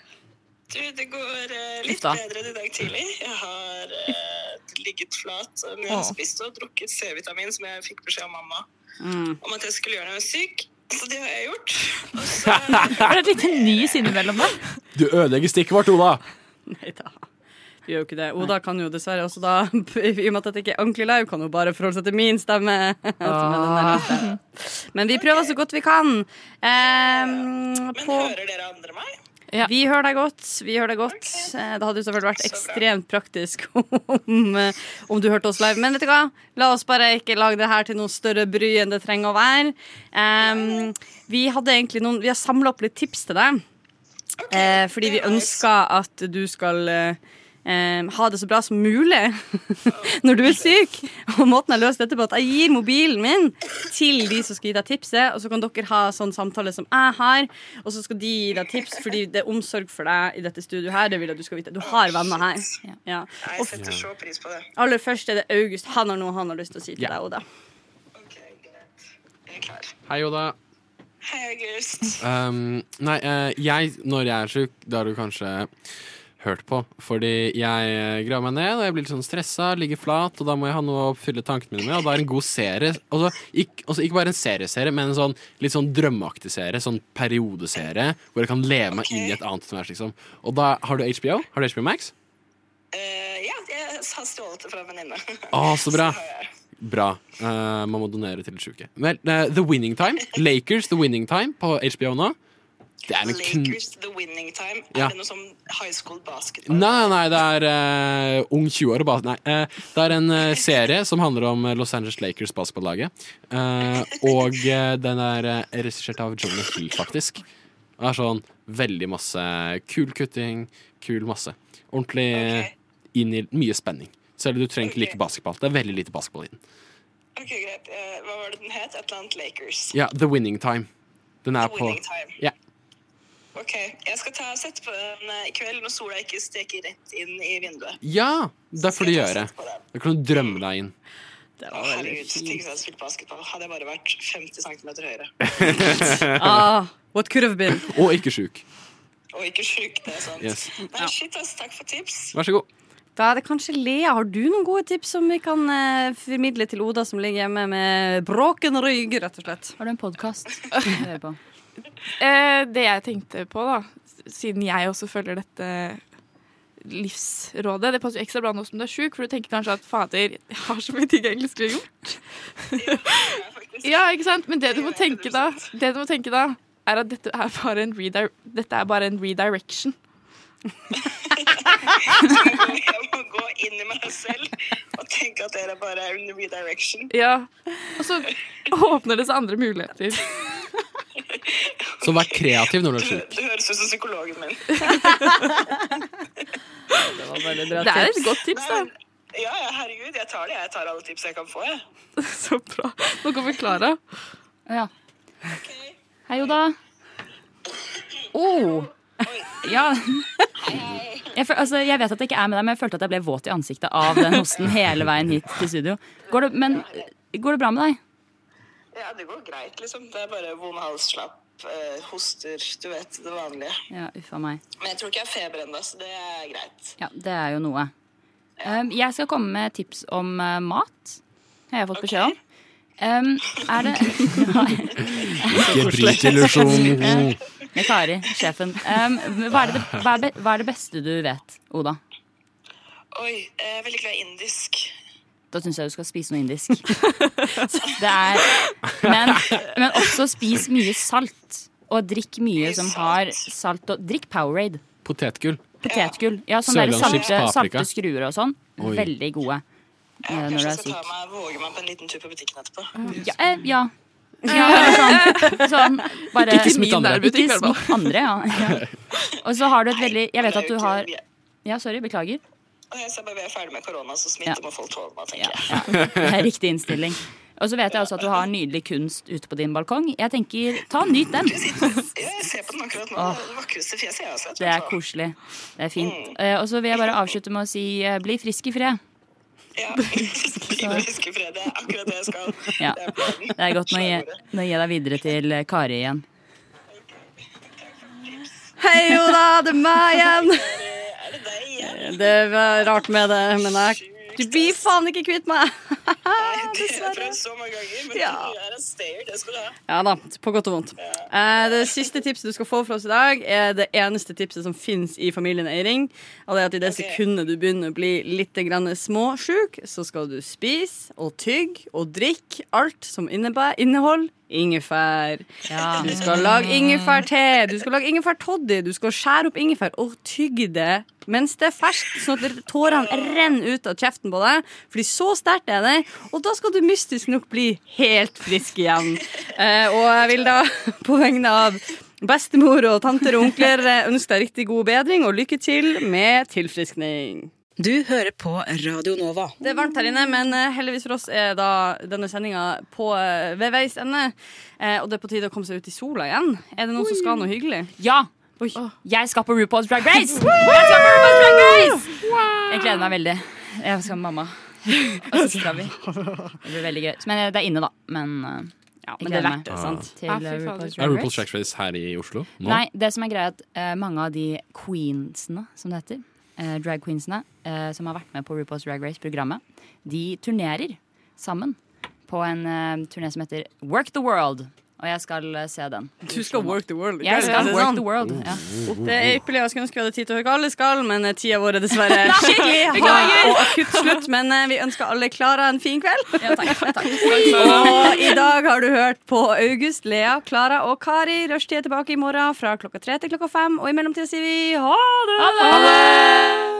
S14: Du, det går eh, litt
S5: Uff da.
S14: bedre enn i dag tidlig. Jeg har eh, ligget flat, men jeg har
S5: Åh.
S14: spist og drukket C-vitamin, som jeg fikk beskjed av mamma
S15: Mm.
S14: om at jeg skulle gjøre når jeg var syk. Så det har jeg gjort.
S15: Var det et lite nys innimellom der?
S1: Du ødelegger stikket vårt, Oda.
S5: Nei da. Du gjør jo ikke det. Oda kan jo dessverre også da, i og med at dette ikke er ordentlig live, kan hun bare forholde seg til min stemme. som er den der lille. Men vi prøver så godt vi kan. Men hører dere andre meg? Vi hører deg godt. vi hører deg godt. Eh, Det hadde jo selvfølgelig vært ekstremt praktisk om, eh, om du hørte oss live. Men vet du hva? la oss bare ikke lage det her til noe større bry enn det trenger å være. Em, vi, hadde egentlig noen, vi har samla opp litt tips til deg. Eh, fordi vi ønsker at du skal eh, eh, ha det så bra som mulig når du er syk. Og måten jeg løser dette på, at jeg gir mobilen min til de som skal gi deg tipset, og så kan dere ha sånn samtale som jeg har, og så skal de gi deg tips, fordi det er omsorg for deg i dette studioet her. Det vil jeg at du skal vite. Du har venner her. Ja.
S14: Jeg setter så pris på det.
S5: Aller først er det August. Han har noe han har lyst til å si til deg, Oda.
S1: Hei, Oda.
S14: Hei, August.
S1: Um, nei, eh, jeg, når jeg er sjuk, det har du kanskje hørt på. Fordi jeg eh, graver meg ned, og jeg blir litt sånn stressa, ligger flat, og da må jeg ha noe å fylle tankene mine med, og da er en god serie altså, ikke, altså, ikke bare en serieserie, men en sånn litt sånn drømmeaktig serie, sånn periodeserie, hvor jeg kan leve meg inn i et annet univers, liksom. Og da har du HBO? Har du HBO Max?
S14: Eh, ja, jeg har stjålet det fra en venninne.
S1: Å, så bra. Bra. Eh, man må donere til de sjuke. Vel, eh, The Winning Time. Lakers The Winning Time på HBO nå. Det er en kn...
S14: Lakers The Winning Time.
S1: Ja.
S14: Er det noe som high school basket?
S1: Nei, nei, det er eh, ung 20-år og bas... Nei. eh, det er en eh, serie som handler om eh, Los Angeles Lakers basketballaget. Eh, og eh, den er uh, regissert av Jonah Hill, faktisk. Det er sånn veldig masse kul kutting, kul masse. Ordentlig eh, inn i mye spenning. Selv om du trenger ikke like basketball. Det er veldig lite basketball i den.
S14: Ok, greit. Eh, hva var det den het? Et eller annet Lakers.
S1: Ja, The Winning Time. Den er
S14: The
S1: på
S14: Winning Time.
S1: Ja.
S14: Ok, jeg skal ta sette på den eh, i kveld når sola ikke steker rett inn i vinduet.
S1: ja, det får du gjøre. Da kan du drømme deg inn.
S14: Å, Herregud, tenk hvis jeg hadde spilt basketball. Hadde jeg bare vært 50 cm høyere.
S5: Ah, what could have been?
S1: Og ikke sjuk.
S14: Og ikke sjuk, det er sant.
S1: Yes.
S14: Nei, shit, ass. Takk for tips.
S1: Vær så god.
S5: Da er det kanskje Lea. Har du noen gode tips som vi kan eh, formidle til Oda, som ligger hjemme med bråken rygg, rett og slett?
S6: Har du en podkast?
S7: Eh, det jeg tenkte på, da, s- siden jeg også følger dette livsrådet Det passer jo ekstra bra nå som du er sjuk, for du tenker kanskje at fader, jeg har så mye ting jeg egentlig skulle gjort. ja, ikke sant? Men det du må tenke da, det du må tenke da er at dette er bare en, redire dette er bare en redirection.
S14: Jeg må gå inn i meg selv og tenke at dere bare er under redirection.
S7: Ja. Og så åpner det seg andre muligheter.
S1: Så vær kreativ når du er sjuk.
S14: Du høres ut som psykologen min.
S7: bra Det er et tips. godt tips, da.
S14: Nei, men- Ja, ja, herregud, jeg tar det. Jeg tar alle tips jeg kan få, jeg.
S7: Så bra. Nå kommer Klara.
S6: Ja. Hei, Oda. Oh. Ja. Jeg, føl- altså, jeg vet at det ikke er med deg, men jeg følte at jeg ble våt i ansiktet av den hosten hele veien hit til studio. Går det, men går det bra med deg?
S14: Ja, det går greit, liksom. Det er bare vond hals, slapp, eh, hoster, du vet, det vanlige.
S6: Ja, uff a meg.
S14: Men jeg tror ikke jeg har feber ennå, så det er greit.
S6: Ja, det er jo noe. Um, jeg skal komme med tips om eh, mat. Har jeg fått beskjed om. Um, er det
S1: Ikke bryt illusjonen.
S6: Med Kari, sjefen. Um, hva, er det, hva, er, be- hva er det beste du vet, Oda?
S14: Oi, jeg er veldig glad i indisk.
S6: Da syns jeg du skal spise noe indisk. Det er, men, men også spis mye salt. Og drikk mye som har salt. Og drikk Powerade.
S1: Potetgull.
S6: Potetgull. Ja, sånne der
S1: Sørlandschips,
S6: salte,
S1: paprika.
S6: salte skruer og sånn.
S1: Oi.
S6: Veldig gode. eh,
S14: Kanskje
S6: Når du
S14: jeg
S6: er
S14: skal ta
S6: syk.
S14: meg, våge meg på en liten tur på butikken etterpå.
S6: Ja. Eh, ja. ja sånn, sånn, bare,
S14: Ikke smitt andre.
S6: Ikke smitt andre, ja. ja. Og så har du et veldig Jeg vet at du har Ja, sorry. Beklager.
S14: Og jeg sa bare vi er ferdig med korona, så
S6: Ja.
S14: smitte må folk tåle meg, tenker jeg.
S6: Det er riktig innstilling. Og så vet jeg også at du har nydelig kunst ute på din balkong. Jeg tenker, ta og nyt den.
S14: Ja, jeg ser på den akkurat nå.
S6: Åh.
S14: Det er det vakreste fjeset jeg har sett.
S6: Det er koselig. Det er fint. Eh, Og så vil jeg bare avslutte med å si eh, bli frisk i fred.
S14: Ja, hviske fred. Det er akkurat det jeg skal.
S6: Ja.
S14: Det er planen.
S6: Det er godt. Nå gir nå gir jeg deg videre til eh, Kari igjen.
S5: Hei, jo da, det er meg igjen. Det var rart med det, men jeg Du blir faen ikke kvitt meg.
S14: Jeg har prøvd så mange ganger, men du er en stayer. Det skal du ha.
S5: Ja da, på godt og vondt. Eh, det siste tipset du skal få fra oss i dag, er det eneste tipset som fins i Familien Eiring. Og det er at i det sekundet du begynner å bli litt grann småsjuk, så skal du spise og tygge og drikke alt som innebæ- inneholder ingefær. Du skal lage ingefærte, du skal lage ingefærtoddy, du skal skjære opp ingefær og tygge det mens det er ferskt, sånn at tårene renner ut av kjeften på deg. Fordi så sterkt er det. Og da skal du mystisk nok bli helt frisk igjen. Eh, og jeg vil da på vegne av bestemor og tanter og onkler eh, ønske deg riktig god bedring og lykke til med tilfriskning.
S12: Du hører på Radio Nova.
S5: Det er varmt her inne, men eh, heldigvis for oss er da denne sendinga eh, ved veis ende. Eh, og det er på tide å komme seg ut i sola igjen. Er det noen som skal noe hyggelig?
S6: Ja!
S5: Oi.
S6: Jeg skal på RuPaul's Drag Race! Jeg skal på RuPaul's Drag Race! Jeg gleder meg veldig. Jeg skal med mamma. Og så skal vi. Det blir veldig gøy. Men eh, det er inne, da. Men eh, jeg
S5: men det er
S6: gleder meg
S5: verdt det, sant?
S6: Til
S5: Ja,
S6: eh,
S5: fy fader.
S1: Er
S6: RuPaul's Drag
S1: RuPaul's
S6: Race.
S1: Drag Race her i Oslo nå?
S6: Nei, det som er greia er at eh, mange av de queensene, som det heter, eh, drag queensene, eh, som har vært med på RuPaul's Drag Race-programmet, de turnerer sammen på en eh, turné som heter Work the World. Og jeg skal eh, se den.
S5: Du skal work the world.
S6: Jeg skal
S5: det
S6: work the world, ja.
S5: Det er ypperlig. Jeg skulle ønske vi hadde tid til å høre hva alle skal, men eh, tida vår er dessverre
S6: Nei,
S5: skikkelig hard
S6: beklager.
S5: og akutt slutt. Men eh, vi ønsker alle Klara en fin kveld.
S6: Oi.
S5: Og i dag har du hørt på August, Lea, Klara og Kari. Rushtid er tilbake i morgen fra klokka tre til klokka fem, og i mellomtida sier vi ha det!
S6: Ha det!